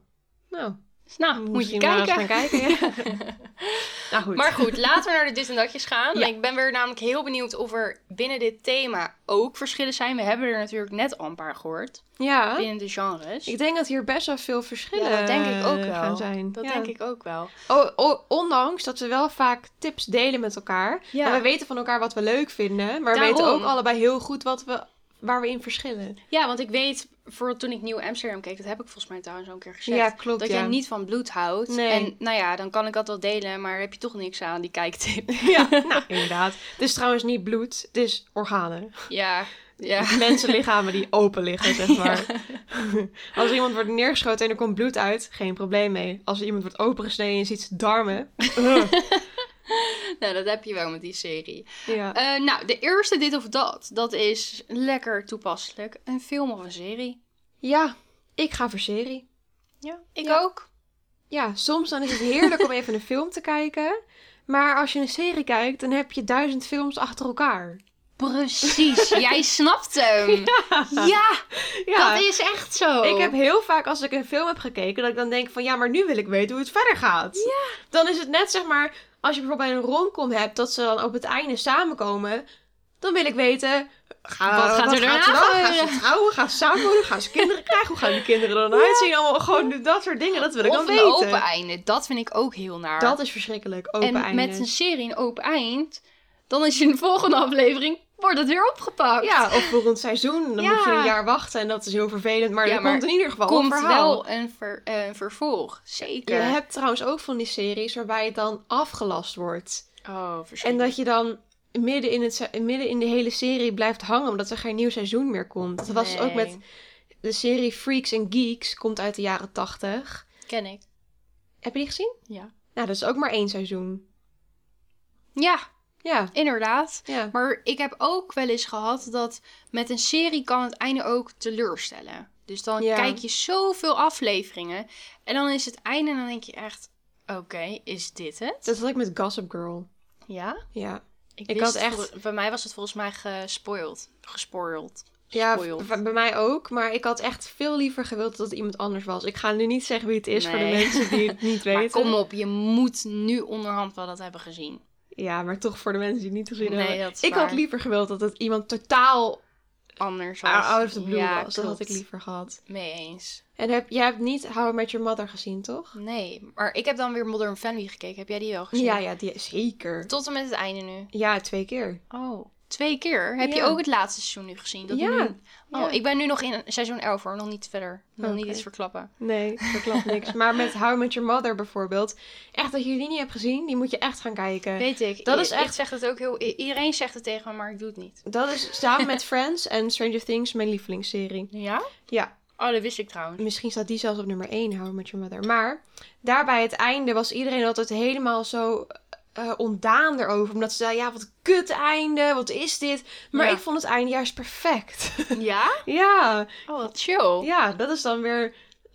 nou. Dus nou, moet je misschien maar eens kijken. gaan kijken. Ja. nou goed. Maar goed, laten we naar de dit en datjes gaan. Ja. Ik ben weer namelijk heel benieuwd of er binnen dit thema ook verschillen zijn. We hebben er natuurlijk net al een paar gehoord. Ja, Binnen de genres. Oh. ik denk dat hier best wel veel verschillen Ja, dat denk ik ook eh, wel. gaan zijn. dat Ja. denk ik ook wel. O- o- ondanks dat we wel vaak tips delen met elkaar. Ja. En we weten van elkaar wat we leuk vinden. Maar we weten Daarom. ook allebei heel goed wat we, waar we in verschillen. Ja, want ik weet, voor toen ik Nieuw Amsterdam keek, dat heb ik volgens mij trouwens al een keer gezegd. Ja, klopt, Dat ja. jij niet van bloed houdt. Nee. En nou ja, dan kan ik dat wel delen, maar heb je toch niks aan die kijktip. Ja, nou, inderdaad. Het is trouwens niet bloed, het is organen. Ja, ja. Mensenlichamen die open liggen, zeg maar. Als er iemand wordt neergeschoten en er komt bloed uit, geen probleem mee. Als er iemand wordt opengesneden en je ziet zijn darmen. eh, Nou, dat heb je wel met die serie. Ja. Eh, nou, de eerste dit of dat. Dat is lekker toepasselijk. Een film of een serie. ja, ik ga voor serie. Ja, ik Ja. ook. Ja, soms dan is het heerlijk om even een film te kijken. Maar als je een serie kijkt, dan heb je duizend films achter elkaar. Precies, jij snapt hem. Ja, dat is echt zo. Ik heb heel vaak als ik een film heb gekeken, dat ik dan denk van ja, maar nu wil ik weten hoe het verder gaat. Dan is het net zeg maar, als je bijvoorbeeld bij een romcom hebt, dat ze dan op het einde samenkomen, dan wil ik weten. Ga, Wat gaat er daarna dan? Gaan gebeuren? ze trouwen? Gaan ze samenkomen? Gaan ze kinderen krijgen? Hoe gaan die kinderen er dan uitzien? Allemaal gewoon dat soort dingen, dat wil ik of dan een weten. open einde. Dat vind ik ook heel naar. Dat is verschrikkelijk, open en einde. met een serie een open eind, dan is je in de volgende aflevering, wordt het weer opgepakt. Ja, of volgend seizoen, dan Ja. moet je een jaar wachten en dat is heel vervelend, maar Ja, er maar komt in ieder geval een Komt verhaal. wel een, ver- eh, een vervolg, Je zeker. hebt trouwens ook van die series waarbij het dan afgelast wordt. Oh, En verschrikkelijk. dat je dan midden in, het, se- midden in de hele serie blijft hangen omdat er geen nieuw seizoen meer komt. Dat was ook met Nee, de serie Freaks and Geeks, komt uit de jaren 80. Ken ik, Heb je die gezien? ja. Nou, dat is ook maar één seizoen. Ja, Ja, inderdaad. ja. Maar ik heb ook wel eens gehad dat met een serie kan het einde ook teleurstellen. Dus dan Ja. kijk je zoveel afleveringen en dan is het einde en dan denk je echt, oké, is dit het? Dat had ik met Gossip Girl. Ja? Ja. Ik, Ik wist had het echt- vol- bij mij was het volgens mij gespoild. Gespoild. Ja, Spoiled. v- bij mij ook. Maar ik had echt veel liever gewild dat het iemand anders was. Ik ga nu niet zeggen wie het is voor de Nee. mensen die het niet Maar weten. kom op, je moet nu onderhand wel dat hebben gezien. Ja, maar toch voor de mensen die het niet gezien Nee, hebben. dat is ik waar. had liever gewild dat het iemand totaal anders was. Our Out of the Blue Ja, was. Dat had ik klopt. liever gehad. Mee eens. En heb, jij hebt niet How I Met Your Mother gezien, toch? Nee, maar ik heb dan weer Modern Family gekeken. Heb jij die wel gezien? Ja, ja, die, zeker. Tot en met het einde nu. Ja, twee keer. Oh, twee keer. Heb je Ja. ook het laatste seizoen nu gezien? Dat Ja. nu- Oh, Ja. ik ben nu nog in seizoen 11 hoor. Nog niet verder. Nog niet Oké. iets verklappen. Nee, dat klopt niks. Maar met How I Met Your Mother bijvoorbeeld. Echt, dat je die niet hebt gezien, die moet je echt gaan kijken. Weet ik. Dat I- is echt- Ik zeg het ook heel... i- Iedereen zegt het tegen me, maar ik doe het niet. Dat is samen met Friends en Stranger Things mijn lievelingsserie. Ja? Ja, Oh, dat wist ik trouwens. misschien staat die zelfs op nummer 1, How I Met Your Mother. Maar daarbij het einde was iedereen altijd helemaal zo eh ontdaan erover. Omdat ze zeiden, ja, wat een kut einde, wat is dit? Maar Ja. ik vond het einde juist perfect. Ja? ja, Oh, wat chill. ja, dat is dan weer...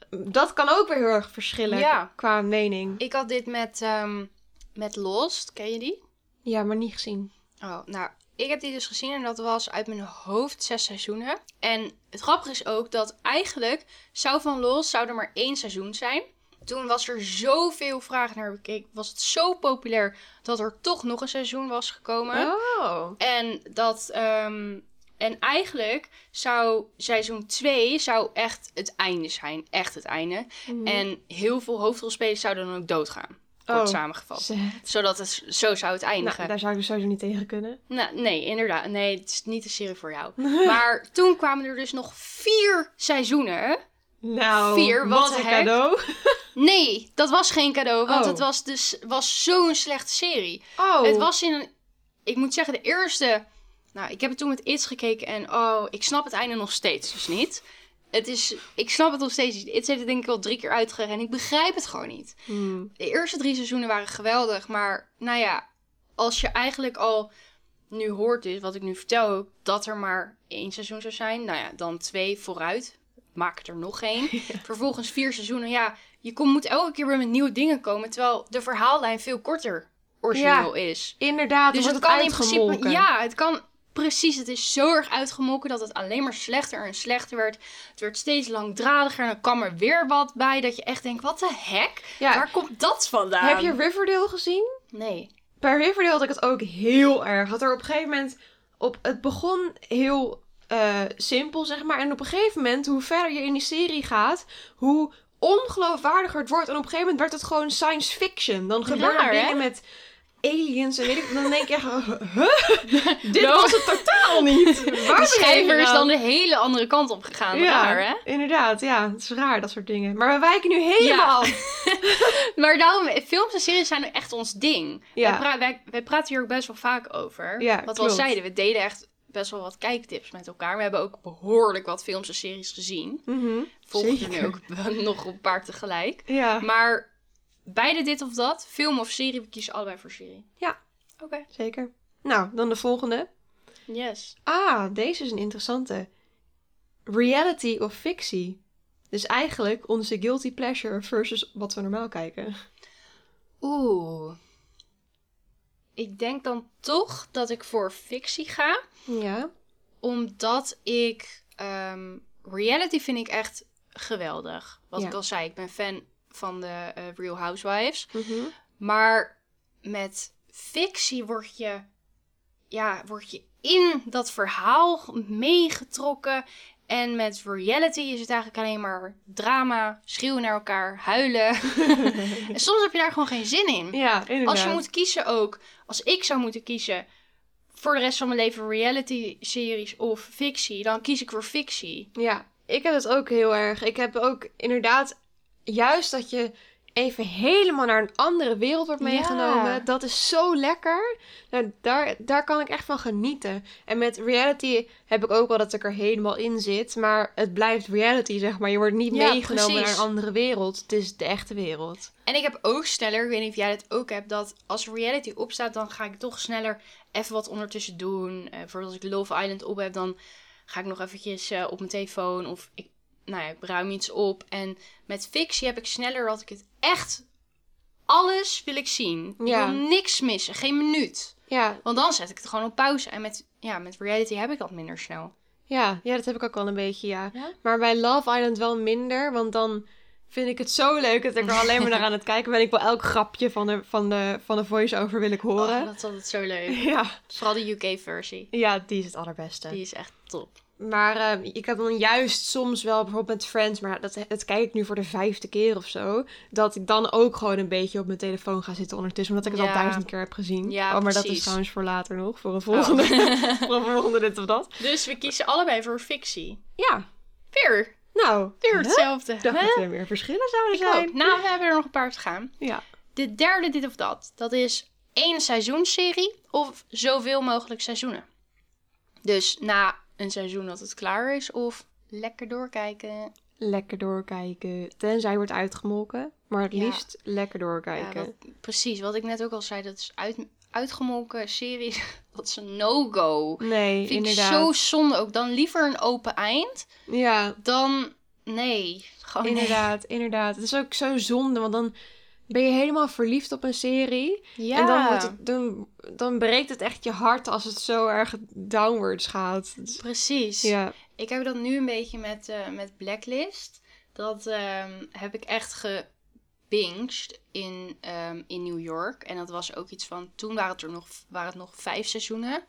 Dat kan ook weer heel erg verschillen Ja. qua mening. Ik had dit met, ehm, met Lost. Ken je die? Ja, maar niet gezien. Oh, nou, ik heb die dus gezien en dat was uit mijn hoofd zes seizoenen. En het grappige is ook dat eigenlijk zou van Lost zou er maar één seizoen zijn. Toen was er zoveel vraag naar bekeken, was het zo populair dat er toch nog een seizoen was gekomen. Oh. En dat. ehm, en eigenlijk zou seizoen 2 zou echt het einde zijn. Echt het einde. En heel veel hoofdrolspelers zouden dan ook doodgaan. Kort Mhm. Oh. samengevat. Zet. Zodat het zo zou het eindigen. Nou, daar zou ik dus sowieso niet tegen kunnen. Nou, nee, inderdaad. Nee, het is niet de serie voor jou. maar toen kwamen er dus nog vier seizoenen. Nou, Vier, wat de een heck? cadeau. Nee, dat was geen cadeau, want Oh. het was, dus, was zo'n slechte serie. Oh, Het was in een... Ik moet zeggen, de eerste... Nou, ik heb het toen met It's gekeken en oh, ik snap het einde nog steeds dus niet. Het is... Ik snap het nog steeds niet. It's heeft het denk ik al drie keer uitgerend en ik begrijp het gewoon niet. Hmm. De eerste drie seizoenen waren geweldig, maar nou ja, als je eigenlijk al nu hoort dus wat ik nu vertel ook, dat er maar één seizoen zou zijn, nou ja, dan twee vooruit, maak er nog één. Vervolgens vier seizoenen, ja, je kom, moet elke keer weer met nieuwe dingen komen, terwijl de verhaallijn veel korter origineel is. Inderdaad, Dus dan het wordt kan het in principe, uitgemolken. ja, het kan precies, het is zo erg uitgemolken dat het alleen maar slechter en slechter werd. Het werd steeds langdradiger en dan kwam er weer wat bij dat je echt denkt, wat de heck? Ja. Waar komt dat vandaan? Heb je Riverdale gezien? Nee. Bij Riverdale had ik het ook heel erg. Dat er op een gegeven moment... Op, het begon heel eh, simpel, zeg maar. En op een gegeven moment, hoe verder je in die serie gaat... Hoe ongeloofwaardiger het wordt. En op een gegeven moment werd het gewoon science fiction. Dan gebeuren Raar, hè? dingen met aliens en weet ik... Dan denk je echt... Huh? Dit Nou. was het totaal niet. Waar de ben je schrijver is nou? dan de hele andere kant op gegaan. Raar, hè? inderdaad. Ja, het is raar, dat soort dingen. Maar we wijken nu helemaal af. Maar daarom, films en series zijn echt ons ding. Ja. Wij, pra- wij- wij praten hier ook best wel vaak over. Ja, wat we al klopt. zeiden, we deden echt best wel wat kijktips met elkaar. We hebben ook behoorlijk wat films en series gezien. Mhm, Volgens zeker. nu ook nog een paar tegelijk. Ja, Maar beide dit of dat, film of serie, we kiezen allebei voor serie. Ja. Oké. zeker. Nou, dan de volgende. Yes. Ah, deze is een interessante. Reality of fictie? Dus eigenlijk onze guilty pleasure versus wat we normaal kijken. Oeh. Ik denk dan toch dat ik voor fictie ga. Ja. Omdat ik. ehm, reality vind ik echt geweldig. Wat Ja. ik al zei, ik ben fan van de eh, Real Housewives. Maar met fictie word je. Ja, word je in dat verhaal meegetrokken. En met reality is het eigenlijk alleen maar drama, schreeuwen naar elkaar, huilen. en soms heb je daar gewoon geen zin in. Ja, inderdaad. Als je moet kiezen ook, als ik zou moeten kiezen voor de rest van mijn leven reality series of fictie, dan kies ik voor fictie. Ja, ik heb het ook heel erg. Ik heb ook inderdaad juist dat je even helemaal naar een andere wereld wordt Ja. meegenomen. Dat is zo lekker. Nou, daar, daar kan ik echt van genieten. En met reality heb ik ook wel dat ik er helemaal in zit. Maar het blijft reality, zeg maar. Je wordt niet Ja, meegenomen precies. naar een andere wereld. Het is de echte wereld. En ik heb ook sneller, ik weet niet of jij dat ook hebt, dat als reality opstaat, dan ga ik toch sneller even wat ondertussen doen. Eh, bijvoorbeeld als ik Love Island op heb, dan ga ik nog eventjes eh, op mijn telefoon of ik, nou ja, ik ruim iets op. En met fictie heb ik sneller dat ik het echt, alles wil ik zien. Ja. Ik wil niks missen, geen minuut. Ja, Want dan zet ik het gewoon op pauze. En met, ja, met reality heb ik dat minder snel. ja, ja, dat heb ik ook wel een beetje, ja. Ja? Maar bij Love Island wel minder. Want dan vind ik het zo leuk dat ik er alleen maar naar aan het kijken ben. Ik wil elk grapje van de, van de, van de voice-over wil ik horen. Oh, dat is altijd zo leuk. Ja. Vooral de UK-versie. ja, die is het allerbeste. Die is echt top. Maar eh, ik heb dan juist soms wel bijvoorbeeld met Friends, maar dat, dat kijk ik nu voor de vijfde keer of zo. Dat ik dan ook gewoon een beetje op mijn telefoon ga zitten ondertussen, omdat ik het Ja. al duizend keer heb gezien. Ja, oh, maar dat precies. is trouwens voor later nog, voor een volgende, voor een volgende dit of dat. Dus we kiezen allebei voor fictie. Ja, Weer, nou, weer hè? hetzelfde. Ik Oh. dacht Hè? dat er meer verschillen zouden Ik zijn. ook. Nou, we hebben er nog een paar te gaan. Ja. De derde dit of dat. Dat is één seizoensserie of zoveel mogelijk seizoenen. Dus na een seizoen dat het klaar is of lekker doorkijken. Lekker doorkijken. Tenzij wordt uitgemolken. Maar het Ja. liefst lekker Ja, doorkijken. dat- precies, wat ik net ook al zei, dat is uit, uitgemolken series. Dat is een no-go. Nee, Vind ik inderdaad. zo zonde ook. Dan liever een open eind Ja, dan nee. Gewoon nee. inderdaad, inderdaad. Het is ook zo zonde, want dan ben je helemaal verliefd op een serie. Ja. En dan, wordt het, dan, dan breekt het echt je hart als het zo erg downwards gaat. Dus- Precies. ja, Ik heb dat nu een beetje met, eh, met Blacklist. Dat ehm, heb ik echt gebinged in, ehm, in New York. En dat was ook iets van... Toen waren het er nog, waren het nog vijf seizoenen.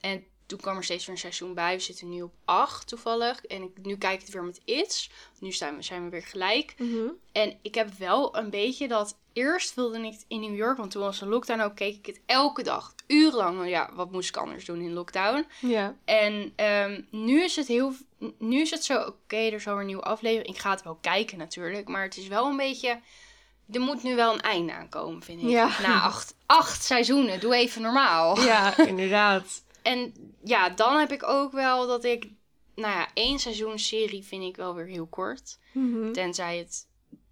En toen kwam er steeds weer een seizoen bij. We zitten nu op acht toevallig. En ik, nu kijk ik het weer met It's. Nu zijn we, zijn we weer gelijk. Mhm. En ik heb wel een beetje dat... Eerst wilde ik het in New York, want toen was de lockdown ook, keek ik het elke dag. Urenlang, want ja, wat moest ik anders doen in lockdown? ja. En ehm, nu is het heel. Nu is het zo, oké, er is alweer een nieuwe aflevering. Ik ga het wel kijken natuurlijk. Maar het is wel een beetje. Er moet nu wel een einde aankomen, vind ik. Ja. Na acht, acht seizoenen. Doe even normaal. ja inderdaad. En ja, dan heb ik ook wel dat ik. Nou ja, één seizoensserie vind ik wel weer heel kort. Mhm. Tenzij het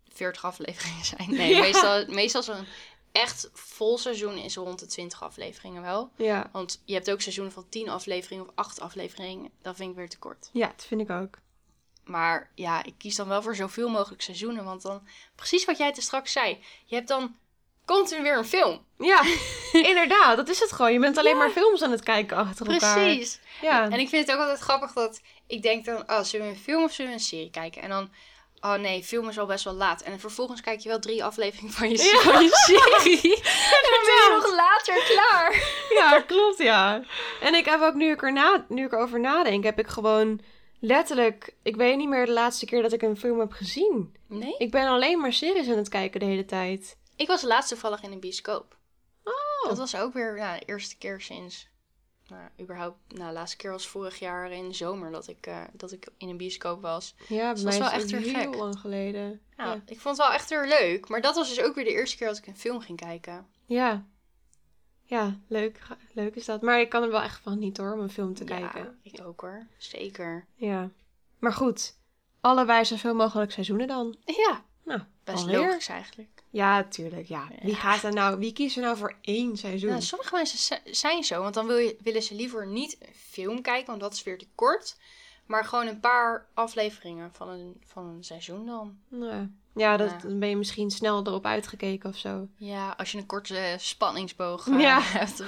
40 afleveringen zijn. Nee, Ja. meestal, meestal zo'n echt vol seizoen is rond de 20 afleveringen wel. Ja. Want je hebt ook seizoenen van 10 afleveringen of 8 afleveringen. Dat vind ik weer te kort. ja, dat vind ik ook. Maar ja, ik kies dan wel voor zoveel mogelijk seizoenen. Want dan, precies wat jij te straks zei. Je hebt dan continu weer een film. Ja, inderdaad. Dat is het gewoon. Je bent alleen maar films aan het kijken achter elkaar. Precies. Ja. En ik vind het ook altijd grappig dat ik denk dan, oh, zullen we een film of zullen we een serie kijken? En dan, oh nee, film is al best wel laat. En vervolgens kijk je wel drie afleveringen van je, Ja. van je serie. En dan ben je Inderdaad. nog later klaar. Ja, klopt, ja. En ik heb ook, nu ik, erna, nu ik erover nadenk, heb ik gewoon letterlijk... Ik weet niet meer de laatste keer dat ik een film heb gezien. Nee? Ik ben alleen maar series aan het kijken de hele tijd. Ik was laatst toevallig in een bioscoop. Oh. Dat was ook weer nou, de eerste keer sinds. Nou, überhaupt, nou, de laatste keer was vorig jaar in de zomer dat ik, eh, dat ik in een bioscoop was. Ja, Dus dat is bij mij wel is echt het weer heel gek. lang geleden. Nou, Ja. ik vond het wel echt weer leuk. Maar dat was dus ook weer de eerste keer dat ik een film ging kijken. Ja. Ja, leuk, Ga- leuk is dat. Maar ik kan er wel echt van niet hoor, om een film te kijken. ik ook hoor. Zeker. Ja. Maar goed, allebei zoveel mogelijk seizoenen dan. Ja, Nou, best alweer. logisch eigenlijk. Ja, tuurlijk, ja. Wie Ja. gaat er nou, wie kiest er nou voor één seizoen? Nou, sommige mensen zi- zijn zo, want dan wil je, willen ze liever niet een film kijken, want dat is weer te kort. Maar gewoon een paar afleveringen van een, van een seizoen dan. Nou, ja, dat, Ja. dan ben je misschien snel erop uitgekeken of zo. Ja, als je een korte spanningsboog eh, Ja. hebt.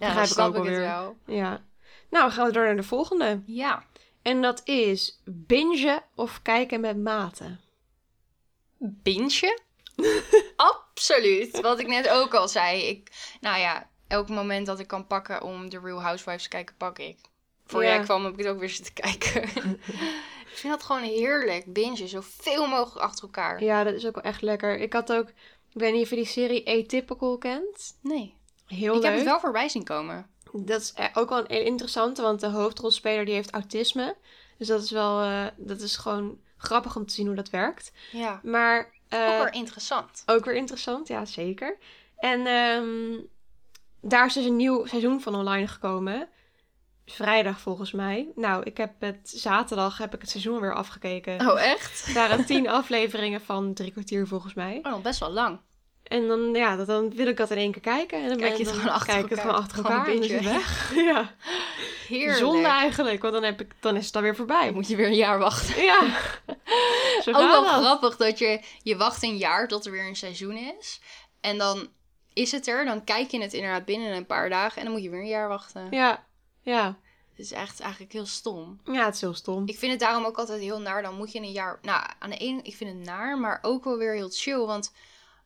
ja, dan ik snap ook ik het alweer. wel. Ja. Nou, gaan we door naar de volgende. Ja. En dat is bingen of kijken met mate. Bintje? Absoluut. Wat ik net ook al zei. Ik, nou ja, elk moment dat ik kan pakken om The Real Housewives te kijken, pak ik. Voor Ja. jij kwam heb ik het ook weer zitten kijken. ik vind dat gewoon heerlijk. Bingen, zoveel mogelijk achter elkaar. Ja, dat is ook wel echt lekker. Ik had ook, ik weet niet of je die serie Atypical kent. Nee. Heel Ik leuk. heb het wel voorbij zien komen. Dat is eh, ook wel een hele interessante, want de hoofdrolspeler die heeft autisme. Dus dat is wel, eh, dat is gewoon grappig om te zien hoe dat werkt. Ja. Maar, eh, ook wel interessant. Ook weer interessant, ja zeker. En ehm, daar is dus een nieuw seizoen van online gekomen. Vrijdag volgens mij. Nou, ik heb het zaterdag heb ik het seizoen weer afgekeken. Oh, echt? Er waren tien afleveringen van drie kwartier volgens mij. Oh, best wel lang. En dan, ja, dat, dan wil ik dat in één keer kijken. En dan ben En ik het dan gewoon achter achter kijk ik het elkaar. gewoon achter Gewoon elkaar. een en dan is het beetje. weg. Ja. Heerlijk. Zonde eigenlijk, want dan, heb ik, dan is het alweer voorbij. Moet je weer een jaar wachten. Ja. Zo Ook wel gaat dat. grappig dat je, je wacht een jaar tot er weer een seizoen is. En dan is het er, dan kijk je het inderdaad binnen een paar dagen en dan moet je weer een jaar wachten. Ja. Ja. Het is echt eigenlijk heel stom. Ja, het is heel stom. Ik vind het daarom ook altijd heel naar. Dan moet je een jaar. Nou, aan de ene, ik vind het naar, maar ook wel weer heel chill. Want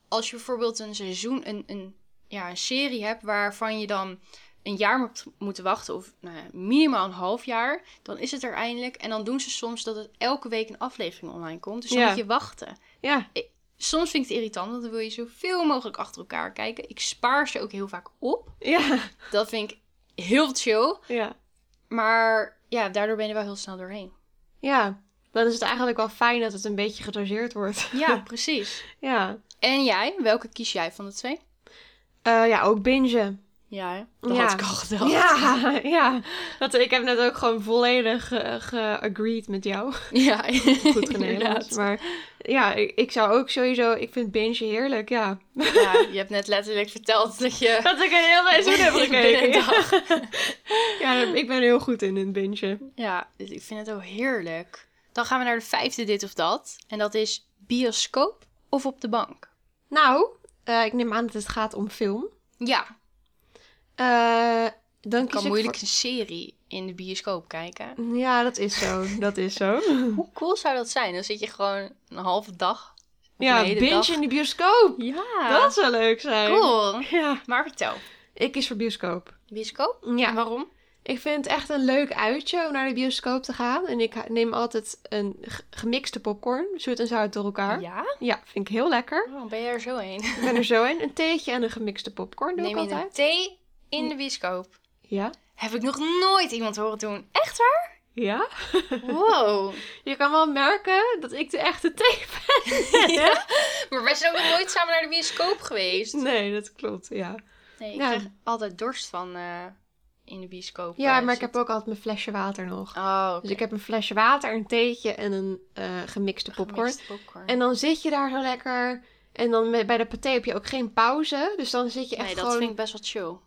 als je bijvoorbeeld een seizoen, een, een, ja, een serie hebt waarvan je dan een jaar moet, moeten wachten, of nou ja, minimaal een half jaar, dan is het er eindelijk. En dan doen ze soms dat het elke week een aflevering online komt. Dus dan Ja. moet je wachten. Ja, Soms vind ik het irritant, want dan wil je zoveel mogelijk achter elkaar kijken. Ik spaar ze ook heel vaak op. ja, Dat vind ik heel chill. ja. Maar ja, daardoor ben je er wel heel snel doorheen. Ja, dan is het eigenlijk wel fijn dat het een beetje gedoseerd wordt. Ja, precies. ja. En jij, welke kies jij van de twee? Eh, ja, ook bingen. Ja, hè? Dat had ik al gedacht. Ja. Ja, ja. Dat, ik heb net ook gewoon volledig eh, geagreed met jou. ja. Goed geneden. maar ja, ik, ik zou ook sowieso... Ik vind bingen heerlijk, ja. Ja, je hebt net letterlijk verteld dat je... Dat ik een heel seizoen heb Binnen een gekeken. dag. Ja, ik ben er heel goed in, in bingen. Ja, dus ik vind het ook heerlijk. Dan gaan we naar de vijfde dit of dat. En dat is bioscoop of op de bank. Nou, eh, ik neem aan dat het gaat om film. Ja, Eh, dan ik kies kan ik moeilijk een serie in de bioscoop kijken. voor- Ja, dat is zo. Dat is zo. Hoe cool zou dat zijn? Dan zit je gewoon een halve dag. ja, een hele binge dag. in de bioscoop. Ja, Dat zou leuk zijn. cool. Ja. Maar vertel, Ik kies voor bioscoop. bioscoop? En Ja. waarom? Ik vind het echt een leuk uitje om naar de bioscoop te gaan. En ik ha- neem altijd een g- gemixte popcorn, zoet en zout door elkaar. Ja, Ja? vind ik heel lekker. Waarom ben je er zo heen? Ik ben er zo in. Een theetje en een gemixte popcorn doe Neem ik je een altijd. thee in de bioscoop? Ja. Heb ik nog nooit iemand horen doen. Echt waar? Ja? Wow. Je kan wel merken dat ik de echte thee ben. Ja? Maar wij zijn ook nog nooit samen naar de bioscoop geweest. Nee, dat klopt, ja. Nee, ik Mm. Ja. krijg altijd dorst van eh, in de bioscoop. Ja, eh, maar ik heb zitten. ook altijd mijn flesje water nog. Oh, oké. Dus ik heb een flesje water, een theetje en een eh, gemixte popcorn. Gemixte popcorn. En dan zit je daar zo lekker. En dan met- bij de paté heb je ook geen pauze. Dus dan zit je echt nee, dat gewoon... vind ik best wel chill.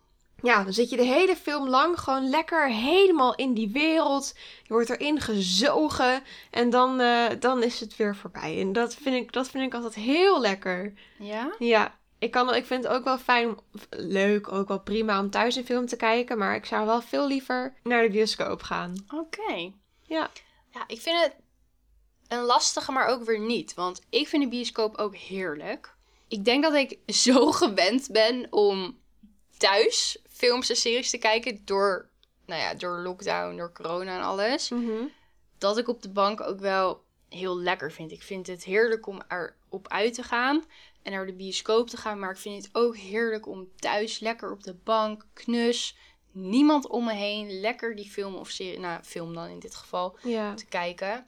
Ja, dan zit je de hele film lang gewoon lekker helemaal in die wereld. Je wordt erin gezogen. En dan, eh, dan is het weer voorbij. En dat vind, ik, dat vind ik altijd heel lekker. Ja? Ja, ik, kan, ik vind het ook wel fijn, om- of leuk, ook wel prima om thuis een film te kijken. Maar ik zou wel veel liever naar de bioscoop gaan. Oké. Ja. Ja, ik vind het een lastige, maar ook weer niet. Want ik vind de bioscoop ook heerlijk. Ik denk dat ik zo gewend ben om thuis films en series te kijken door, nou ja, door lockdown, door corona en alles. dat ik op de bank ook wel heel lekker vind. Ik vind het heerlijk om erop uit te gaan en naar de bioscoop te gaan. Maar ik vind het ook heerlijk om thuis lekker op de bank, knus, niemand om me heen, lekker die film of serie, nou film dan in dit geval, Ja. te kijken.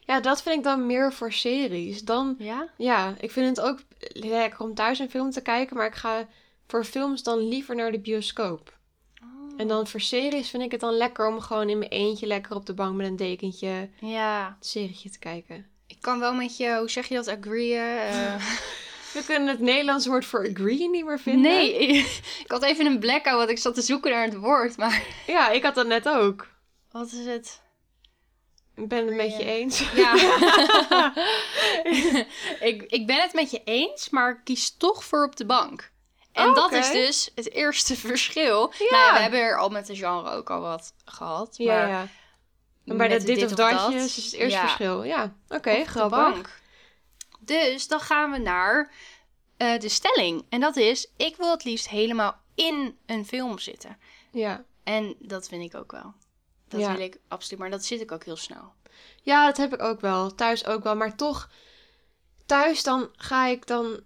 ja, dat vind ik dan meer voor series. Dan, Ja? ja, ik vind het ook lekker om thuis een film te kijken. Maar ik ga voor films dan liever naar de bioscoop. Oh. En dan voor series vind ik het dan lekker om gewoon in mijn eentje lekker op de bank met een dekentje een Ja, serietje te kijken. ik kan wel met je, hoe zeg je dat, agreeën? eh. We kunnen het Nederlands woord voor agree niet meer vinden. nee, ik had even een blackout, want ik zat te zoeken naar het woord, maar Ja, ik had dat net ook. wat is het? Ik ben het Agree, met je eens. Oh, Ja. ik, ik ben het met je eens, maar ik kies toch voor op de bank. En Oh, dat oké. is dus het eerste verschil. Ja. Nou ja, we hebben er al met de genre ook al wat gehad. Maar Ja, ja. En bij met dat dit, of dat dat, is het eerste ja, verschil. Ja, oké, op de grappig. bank. Dus dan gaan we naar eh, de stelling. En dat is, ik wil het liefst helemaal in een film zitten. Ja. En dat vind ik ook wel. Dat Ja. wil ik absoluut, maar dat zit ik ook heel snel. ja, dat heb ik ook wel. Thuis ook wel. Maar toch, thuis dan ga ik dan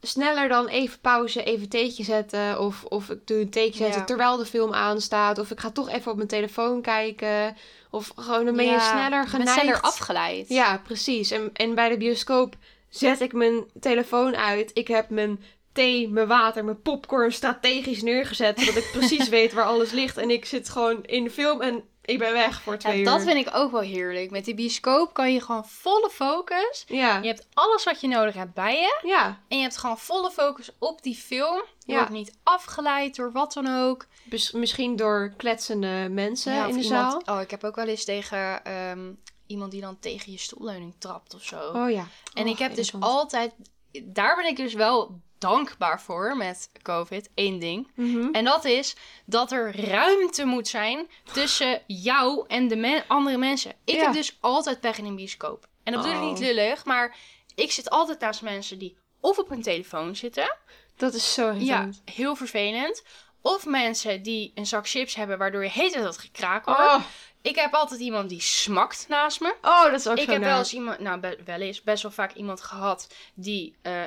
sneller dan even pauze, even theetje zetten. Of, of ik doe een theetje zetten Ja. terwijl de film aanstaat. Of ik ga toch even op mijn telefoon kijken. Of gewoon dan ben je Ja, sneller Ik ben geneigd. sneller afgeleid. Ja, precies. En, en bij de bioscoop zet ik mijn telefoon uit. Ik heb mijn thee, mijn water, mijn popcorn strategisch neergezet. Zodat ik precies weet waar alles ligt. En ik zit gewoon in de film en ik ben weg voor twee Ja, uur. dat vind ik ook wel heerlijk. Met die bioscoop kan je gewoon volle focus. Ja, Je hebt alles wat je nodig hebt bij je. ja. En je hebt gewoon volle focus op die film. Je Ja. wordt niet afgeleid door wat dan ook. Bes- misschien door kletsende mensen Ja, of in de iemand- zaal. Oh, ik heb ook wel eens tegen ehm, iemand die dan tegen je stoelleuning trapt of zo. Oh ja. en Oh, ik heb dus irritant. altijd... Daar ben ik dus wel dankbaar voor met COVID. Eén ding. Mhm. En dat is dat er ruimte moet zijn tussen jou en de men- andere mensen. Ik Ja. heb dus altijd pech in een bioscoop. En dat bedoel ik Oh. niet lullig, maar ik zit altijd naast mensen die of op hun telefoon zitten. Dat is zo Ja, irritant. heel vervelend. Of mensen die een zak chips hebben, waardoor je heet dat gekraak hoort. Oh, Ik heb altijd iemand die smakt naast me. oh, dat is ook Ik zo heb naar. wel eens iemand, nou be- wel eens, best wel vaak iemand gehad die, eh,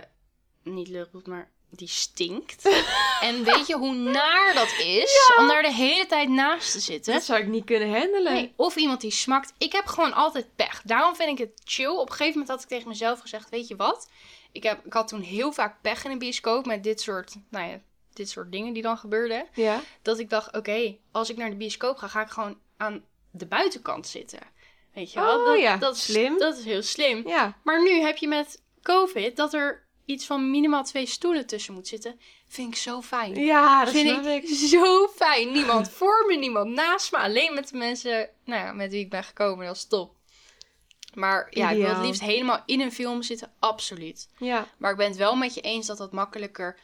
niet lulroet, maar die stinkt. en weet je hoe naar dat is? Om daar de hele tijd naast te zitten. Dat zou ik niet kunnen handelen. Nee, of iemand die smakt. Ik heb gewoon altijd pech. Daarom vind ik het chill. Op een gegeven moment had ik tegen mezelf gezegd: Weet je wat? Ik, heb, ik had toen heel vaak pech in een bioscoop met dit soort, nou ja, dit soort dingen die dan gebeurden. Ja. Dat ik dacht: Oké, als ik naar de bioscoop ga, ga ik gewoon aan de buitenkant zitten. Weet je wel? Oh dat, ja, dat is, slim. Dat is heel slim. Ja. Maar nu heb je met COVID dat er iets van minimaal twee stoelen tussen moet zitten. Vind ik zo fijn. Ja, dat vind snap ik, ik. zo fijn. Niemand voor me, niemand naast me. Alleen met de mensen nou ja, met wie ik ben gekomen. Dat is top. Maar ja, ik wil Ideaal. het liefst helemaal in een film zitten. Absoluut. Ja. Maar ik ben het wel met je eens dat dat makkelijker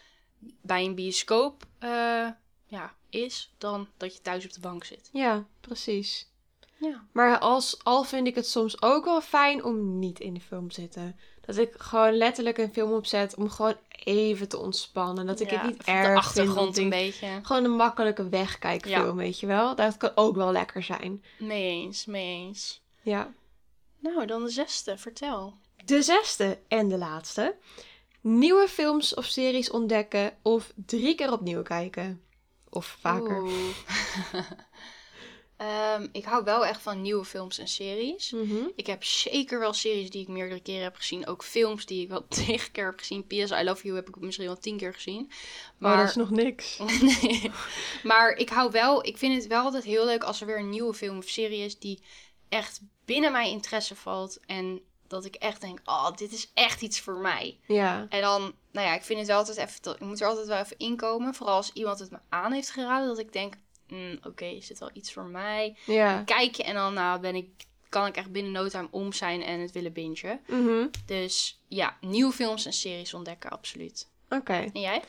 bij een bioscoop eh, ja, is dan dat je thuis op de bank zit. Ja, precies. Ja. Maar als, al vind ik het soms ook wel fijn om niet in de film te zitten. Dat ik gewoon letterlijk een film opzet om gewoon even te ontspannen. Dat ik Ja, het niet van erg de vind, achtergrond dat ik- een beetje. Gewoon een makkelijke wegkijkfilm, weet je wel. Dat kan ook wel lekker zijn. Mee eens, mee eens. Ja. Nou, dan de zesde. Vertel. De zesde en de laatste. Nieuwe films of series ontdekken of drie keer opnieuw kijken. Of vaker. Oeh. Ehm, ik hou wel echt van nieuwe films en series. Mhm. Ik heb zeker wel series die ik meerdere keren heb gezien. Ook films die ik wel tegen keer heb gezien. P.S. I Love You heb ik misschien wel tien keer gezien. Maar Maar, dat is nog niks. nee. maar ik hou wel... Ik vind het wel altijd heel leuk als er weer een nieuwe film of serie is... die echt binnen mijn interesse valt. En dat ik echt denk... Oh, dit is echt iets voor mij. Ja. En dan... Nou ja, ik vind het wel altijd even... te- Ik moet er altijd wel even inkomen. Vooral als iemand het me aan heeft geraden. Dat ik denk... "Mm, Oké, is dit wel iets voor mij? Ja. kijken en dan nou, ben ik, kan ik echt binnen no time om zijn en het willen bingen. Mhm. Dus ja, nieuwe films en series ontdekken, absoluut. Oké. En jij?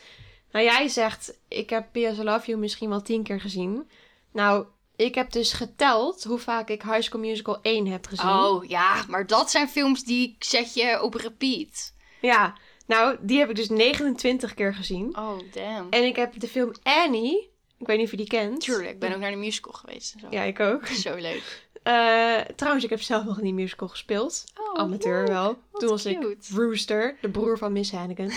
Nou, jij zegt, ik heb P.S. I Love You misschien wel tien keer gezien. Nou, ik heb dus geteld hoe vaak ik High School Musical 1 heb gezien. Oh ja, maar dat zijn films die ik zet je op repeat. Ja, nou, die heb ik dus 29 keer gezien. Oh damn. En ik heb de film Annie, ik weet niet of je die kent. Tuurlijk, ik ben ook naar de musical geweest en zo. Ja, ik ook. Zo leuk. Eh, trouwens, ik heb zelf nog in die musical gespeeld. Oh, Amateur leuk. wel. Wat Toen was ik cute. Rooster, de broer van Miss Hannigan.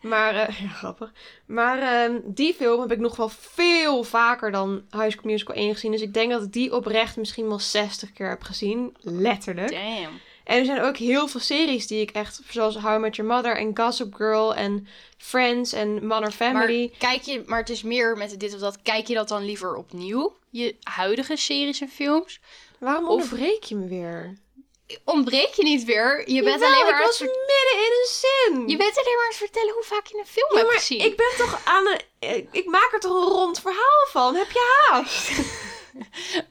maar, eh, ja, grappig. Maar ehm, die film heb ik nog wel veel vaker dan High School Musical 1 gezien. Dus ik denk dat ik die oprecht misschien wel 60 keer heb gezien. Letterlijk. Damn. En er zijn ook heel veel series die ik echt, zoals How I Met Your Mother en Gossip Girl en Friends en Mother Maar, Family. kijk je, maar het is meer met dit of dat. Kijk je dat dan liever opnieuw? Je huidige series en films? Waarom of- onderbreek je me weer? Ontbreek je niet weer? Je bent Jawel, alleen maar ik aan het was midden in een zin. Je bent alleen maar aan het vertellen hoe vaak je een film Ja, hebt maar gezien. ik ben toch aan een... eh, Ik maak er toch een rond verhaal van? Heb je haast?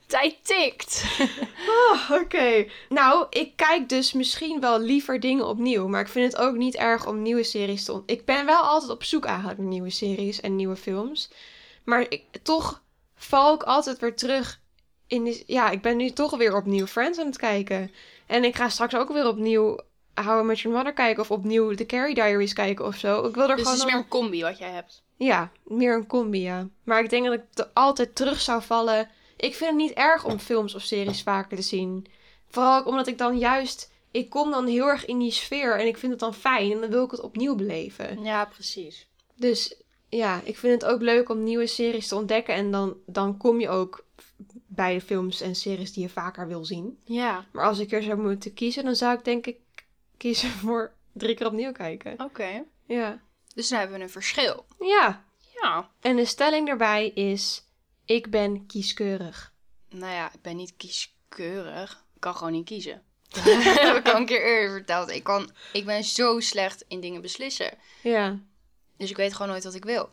Tijd tikt. Dus Oh, oké. Nou, ik kijk dus misschien wel liever dingen opnieuw. Maar ik vind het ook niet erg om nieuwe series te ont... Ik ben wel altijd op zoek eigenlijk naar nieuwe series en nieuwe films. Maar ik, toch val ik altijd weer terug in... Die, ja, ik ben nu toch weer opnieuw Friends aan het kijken. En ik ga straks ook weer opnieuw... How I Met Your Mother kijken of opnieuw The Carrie Diaries kijken of zo. Ik wil er Dus het gewoon is nog- meer een combi wat jij hebt. Ja, meer een combi, ja. Maar ik denk dat ik t- altijd terug zou vallen. Ik vind het niet erg om films of series vaker te zien. Vooral ook omdat ik dan juist... Ik kom dan heel erg in die sfeer en ik vind het dan fijn. En dan wil ik het opnieuw beleven. Ja, precies. Dus ja, ik vind het ook leuk om nieuwe series te ontdekken. En dan, dan kom je ook bij de films en series die je vaker wil zien. Ja, Maar als ik er zou moeten kiezen, dan zou ik denk ik kiezen voor drie keer opnieuw kijken. oké. Ja. Dus dan hebben we een verschil. Ja. Ja. En de stelling daarbij is: ik ben kieskeurig. Nou ja, ik ben niet kieskeurig. Ik kan gewoon niet kiezen. dat heb ik al een keer eerder verteld. Ik, kan, ik ben zo slecht in dingen beslissen. Ja. Dus ik weet gewoon nooit wat ik wil.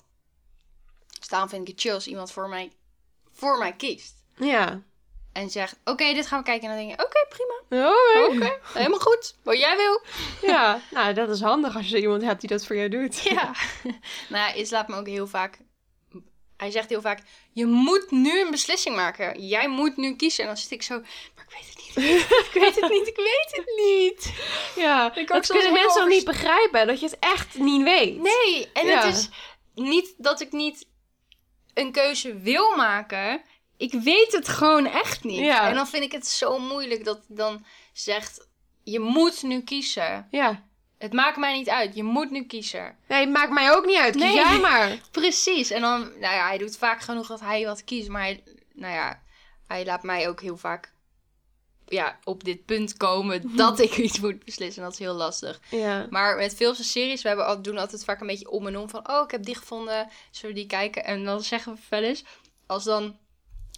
Dus daarom vind ik het chill als iemand voor mij, voor mij kiest. Ja. En zegt, oké, dit gaan we kijken. En dan denk je, oké, prima. Oké. Oké, helemaal goed. Wat jij wil. Ja. Nou, dat is handig als je iemand hebt die dat voor jou doet. Ja. nou, ja, Is laat me ook heel vaak. Hij zegt heel vaak: Je moet nu een beslissing maken. Jij moet nu kiezen. En dan zit ik zo. Maar ik weet het niet. Ik weet het niet. Ik weet het niet. ja. Ik kan dat soms kunnen heel mensen ook niet overst- begrijpen, dat je het echt niet weet. Nee. En Ja. het is niet dat ik niet een keuze wil maken, ik weet het gewoon echt niet. Ja. En dan vind ik het zo moeilijk dat het dan zegt, je moet nu kiezen. Ja. Het maakt mij niet uit, je moet nu kiezen. Nee, maakt mij ook niet uit. Kies Nee. jij maar. Precies. En dan, nou ja, hij doet vaak genoeg dat hij wat kiest, maar hij, nou ja, hij laat mij ook heel vaak ja, op dit punt komen dat ik iets moet beslissen. Dat is heel lastig. Ja. Maar met veel van series, we hebben, al- doen altijd vaak een beetje om en om van... Oh, ik heb die gevonden, zullen we die kijken? En dan zeggen we wel eens, als dan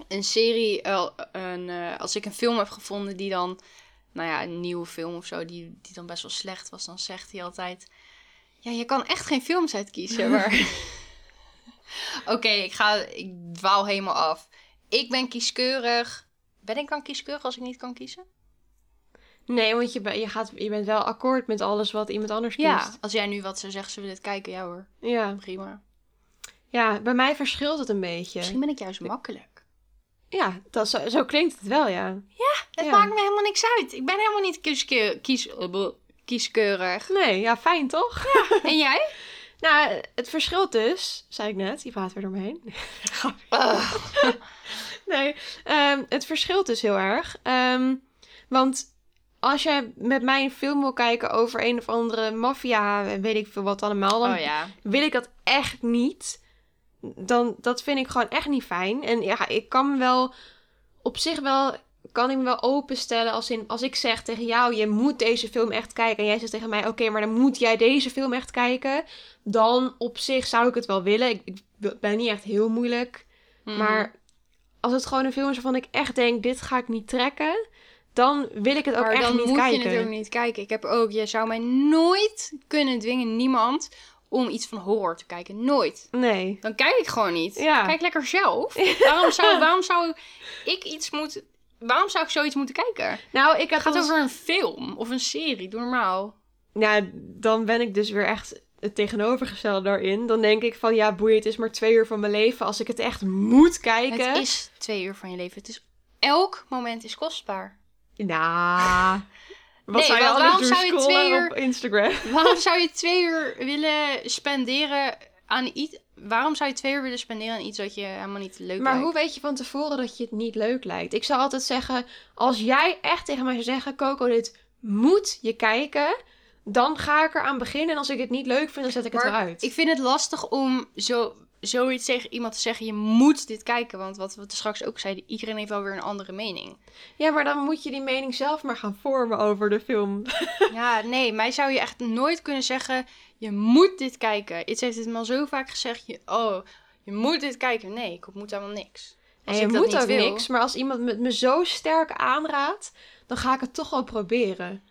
een serie... eh, een, eh, als ik een film heb gevonden die dan... Nou ja, een nieuwe film of zo, die, die dan best wel slecht was. Dan zegt hij altijd... Ja, je kan echt geen films uitkiezen, maar... Oké, ik ga... Ik dwaal helemaal af. Ik ben kieskeurig. Ben ik dan kieskeurig als ik niet kan kiezen? Nee, want je, ben- je, gaat, je bent wel akkoord met alles wat iemand anders kiest. Ja, als jij nu wat zou zeggen, zullen we dit kijken? Ja hoor, Ja. prima. Ja, bij mij verschilt het een beetje. Misschien ben ik juist makkelijk. Ja, dat, zo, zo klinkt het wel, ja. Het Ja. maakt me helemaal niks uit. Ik ben helemaal niet kieske- kies, eh, bleh, kieskeurig. Nee, ja, fijn toch? en jij? Nou, het verschilt dus, zei ik net, je praat weer door me heen. Ugh. Nee, ehm, het verschilt dus heel erg. Ehm, want als jij met mij een film wil kijken over een of andere maffia en weet ik veel wat allemaal, dan Oh ja. wil ik dat echt niet. Dan, dat vind ik gewoon echt niet fijn. En ja, ik kan me wel op zich wel, kan ik me wel openstellen als, in, als ik zeg tegen jou, je moet deze film echt kijken. En jij zegt tegen mij, oké, maar dan moet jij deze film echt kijken. Dan op zich zou ik het wel willen. Ik, ik ben niet echt heel moeilijk. Mm. Maar als het gewoon een film is waarvan ik echt denk, dit ga ik niet trekken, dan wil ik het ook Maar echt dan niet moet kijken. je het ook niet kijken. Ik heb ook, je zou mij nooit kunnen dwingen, niemand, om iets van horror te kijken. Nooit. Nee. Dan kijk ik gewoon niet. Ja. Kijk lekker zelf. Waarom zou, waarom zou ik iets moeten... Waarom zou ik zoiets moeten kijken? Het Nou, ik had gaat ons- over een film of een serie. Doe normaal. Nou, dan ben ik dus weer echt het tegenovergestelde daarin. Dan denk ik van, ja, boeien, het is maar twee uur van mijn leven. Als ik het echt moet kijken... Het is twee uur van je leven. Het is, elk moment is kostbaar. Nou... Wat Nee, zou je want anders waarom doen? zou je Scrollen twee uur- op Instagram? Waarom zou je twee uur willen spenderen aan iets... Waarom zou je twee uur willen spenderen aan iets wat je helemaal niet leuk Maar lijkt? hoe weet je van tevoren dat je het niet leuk lijkt? Ik zou altijd zeggen, als jij echt tegen mij zou zeggen... Coco, dit moet je kijken... Dan ga ik eraan beginnen. En als ik het niet leuk vind, dan zet ik het Maar eruit. Ik vind het lastig om zo, zoiets tegen iemand te zeggen. Je moet dit kijken. Want wat we straks ook zeiden, iedereen heeft wel weer een andere mening. Ja, maar dan moet je die mening zelf maar gaan vormen over de film. ja, nee. Mij zou je echt nooit kunnen zeggen, je moet dit kijken. Iets heeft het me al zo vaak gezegd. Je, oh, je moet dit kijken. Nee, ik moet helemaal niks. En Als je ik dat moet niet ook wil. niks, maar als iemand het me zo sterk aanraadt, dan ga ik het toch wel proberen.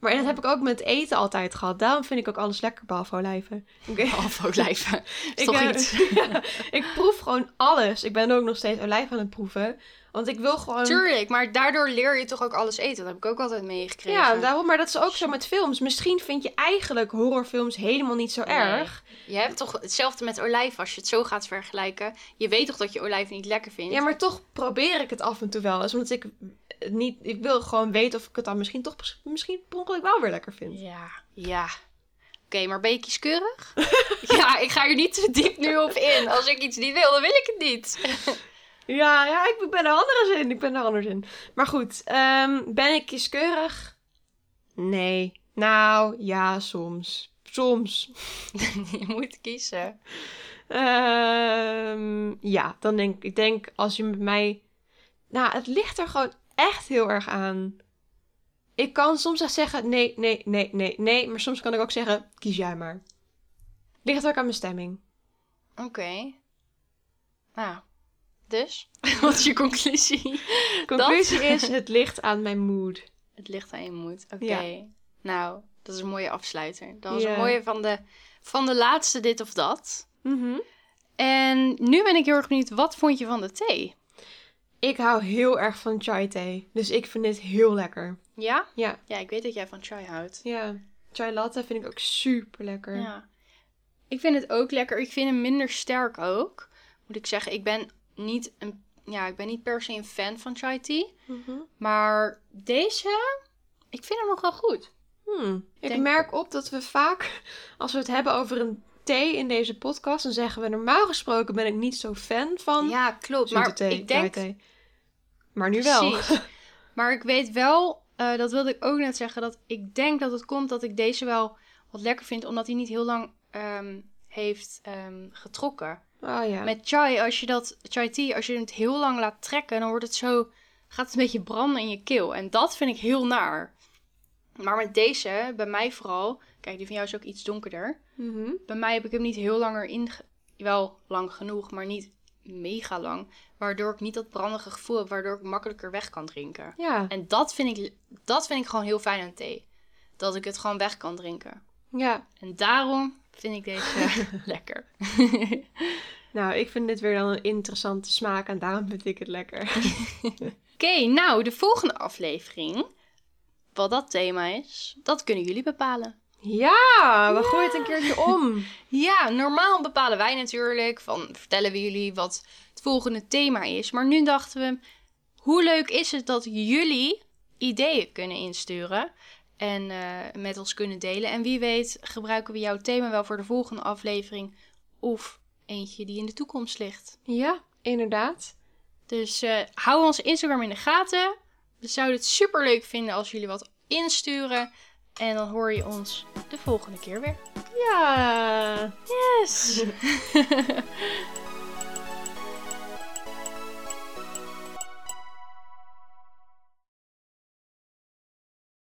Maar en dat heb ik ook met eten altijd gehad. Daarom vind ik ook alles lekker, behalve olijven. Ik, Of ook lijven. Is ik, toch eh, iets? ja, ik proef gewoon alles. Ik ben ook nog steeds olijven aan het proeven. Want ik wil gewoon... Tuurlijk, maar daardoor leer je toch ook alles eten. Dat heb ik ook altijd meegekregen. Ja, daarom, maar dat is ook zo met films. Misschien vind je eigenlijk horrorfilms helemaal niet zo Nee. erg. Je hebt toch hetzelfde met olijf als je het zo gaat vergelijken. Je weet toch dat je olijf niet lekker vindt? Ja, maar toch probeer ik het af en toe wel eens. Omdat ik het niet... Ik wil gewoon weten of ik het dan misschien toch... Misschien per ongeluk wel weer lekker vind. Ja. ja. Oké, maar ben je kieskeurig? ja, ik ga hier niet te diep nu op in. Als ik iets niet wil, dan wil ik het niet. Ja, ja, ik ben er anders in. Ik ben er anders in. Maar goed, ehm, ben ik kieskeurig? Nee. Nou, ja, soms. Soms. je moet kiezen. Ehm, ja, dan denk ik, ik denk als je met mij... Nou, het ligt er gewoon echt heel erg aan. Ik kan soms echt zeggen nee, nee, nee, nee, nee. Maar soms kan ik ook zeggen, kies jij maar. Ligt ook aan mijn stemming. Oké. Nou, dus? Wat is je conclusie? Conclusie is, het ligt aan mijn mood. Het ligt aan je moed. Oké. Ja. Nou, dat is een mooie afsluiter. Dat was Ja. een mooie van de, van de laatste dit of dat. Mhm. En nu ben ik heel erg benieuwd, wat vond je van de thee? Ik hou heel erg van chai thee. Dus ik vind dit heel lekker. Ja? Ja. Ja, ik weet dat jij van chai houdt. Ja. Chai latte vind ik ook super lekker. Ja. Ik vind het ook lekker. Ik vind hem minder sterk ook. Moet ik zeggen, ik ben niet, een, ja, ik ben niet per se een fan van chai tea. Mhm. Maar deze, ik vind hem nog wel goed. Hmm. Ik Denk- merk op dat we vaak, als we het hebben over een thee in deze podcast. Dan zeggen we normaal gesproken ben ik niet zo fan van Ja, klopt. zoete Maar thee, ik denk... thai thee. Maar nu wel. Precies. Maar ik weet wel, eh, dat wilde ik ook net zeggen, dat ik denk dat het komt dat ik deze wel wat lekker vind, omdat hij niet heel lang ehm, heeft ehm, getrokken. Oh ja. Met chai, als je dat, chai tea, als je het heel lang laat trekken, dan wordt het zo, gaat het een beetje branden in je keel. En dat vind ik heel naar. Maar met deze, bij mij vooral, kijk, die van jou is ook iets donkerder. Mhm. Bij mij heb ik hem niet heel langer in, wel lang genoeg, maar niet mega lang. Waardoor ik niet dat brandige gevoel heb, waardoor ik makkelijker weg kan drinken. Ja. En dat vind ik, dat vind ik gewoon heel fijn aan thee. Dat ik het gewoon weg kan drinken. ja. En daarom vind ik deze lekker. Nou, ik vind dit weer dan een interessante smaak en daarom vind ik het lekker. Oké, nou, de volgende aflevering, wat dat thema is, dat kunnen jullie bepalen. Ja, we gooien het een keertje om. Ja, normaal bepalen wij natuurlijk, van vertellen we jullie wat het volgende thema is. Maar nu dachten we, hoe leuk is het dat jullie ideeën kunnen insturen en eh, met ons kunnen delen. En wie weet gebruiken we jouw thema wel voor de volgende aflevering of eentje die in de toekomst ligt. Ja, inderdaad. Dus eh, hou ons Instagram in de gaten. We zouden het super leuk vinden als jullie wat insturen. En dan hoor je ons de volgende keer weer. Ja. Yes!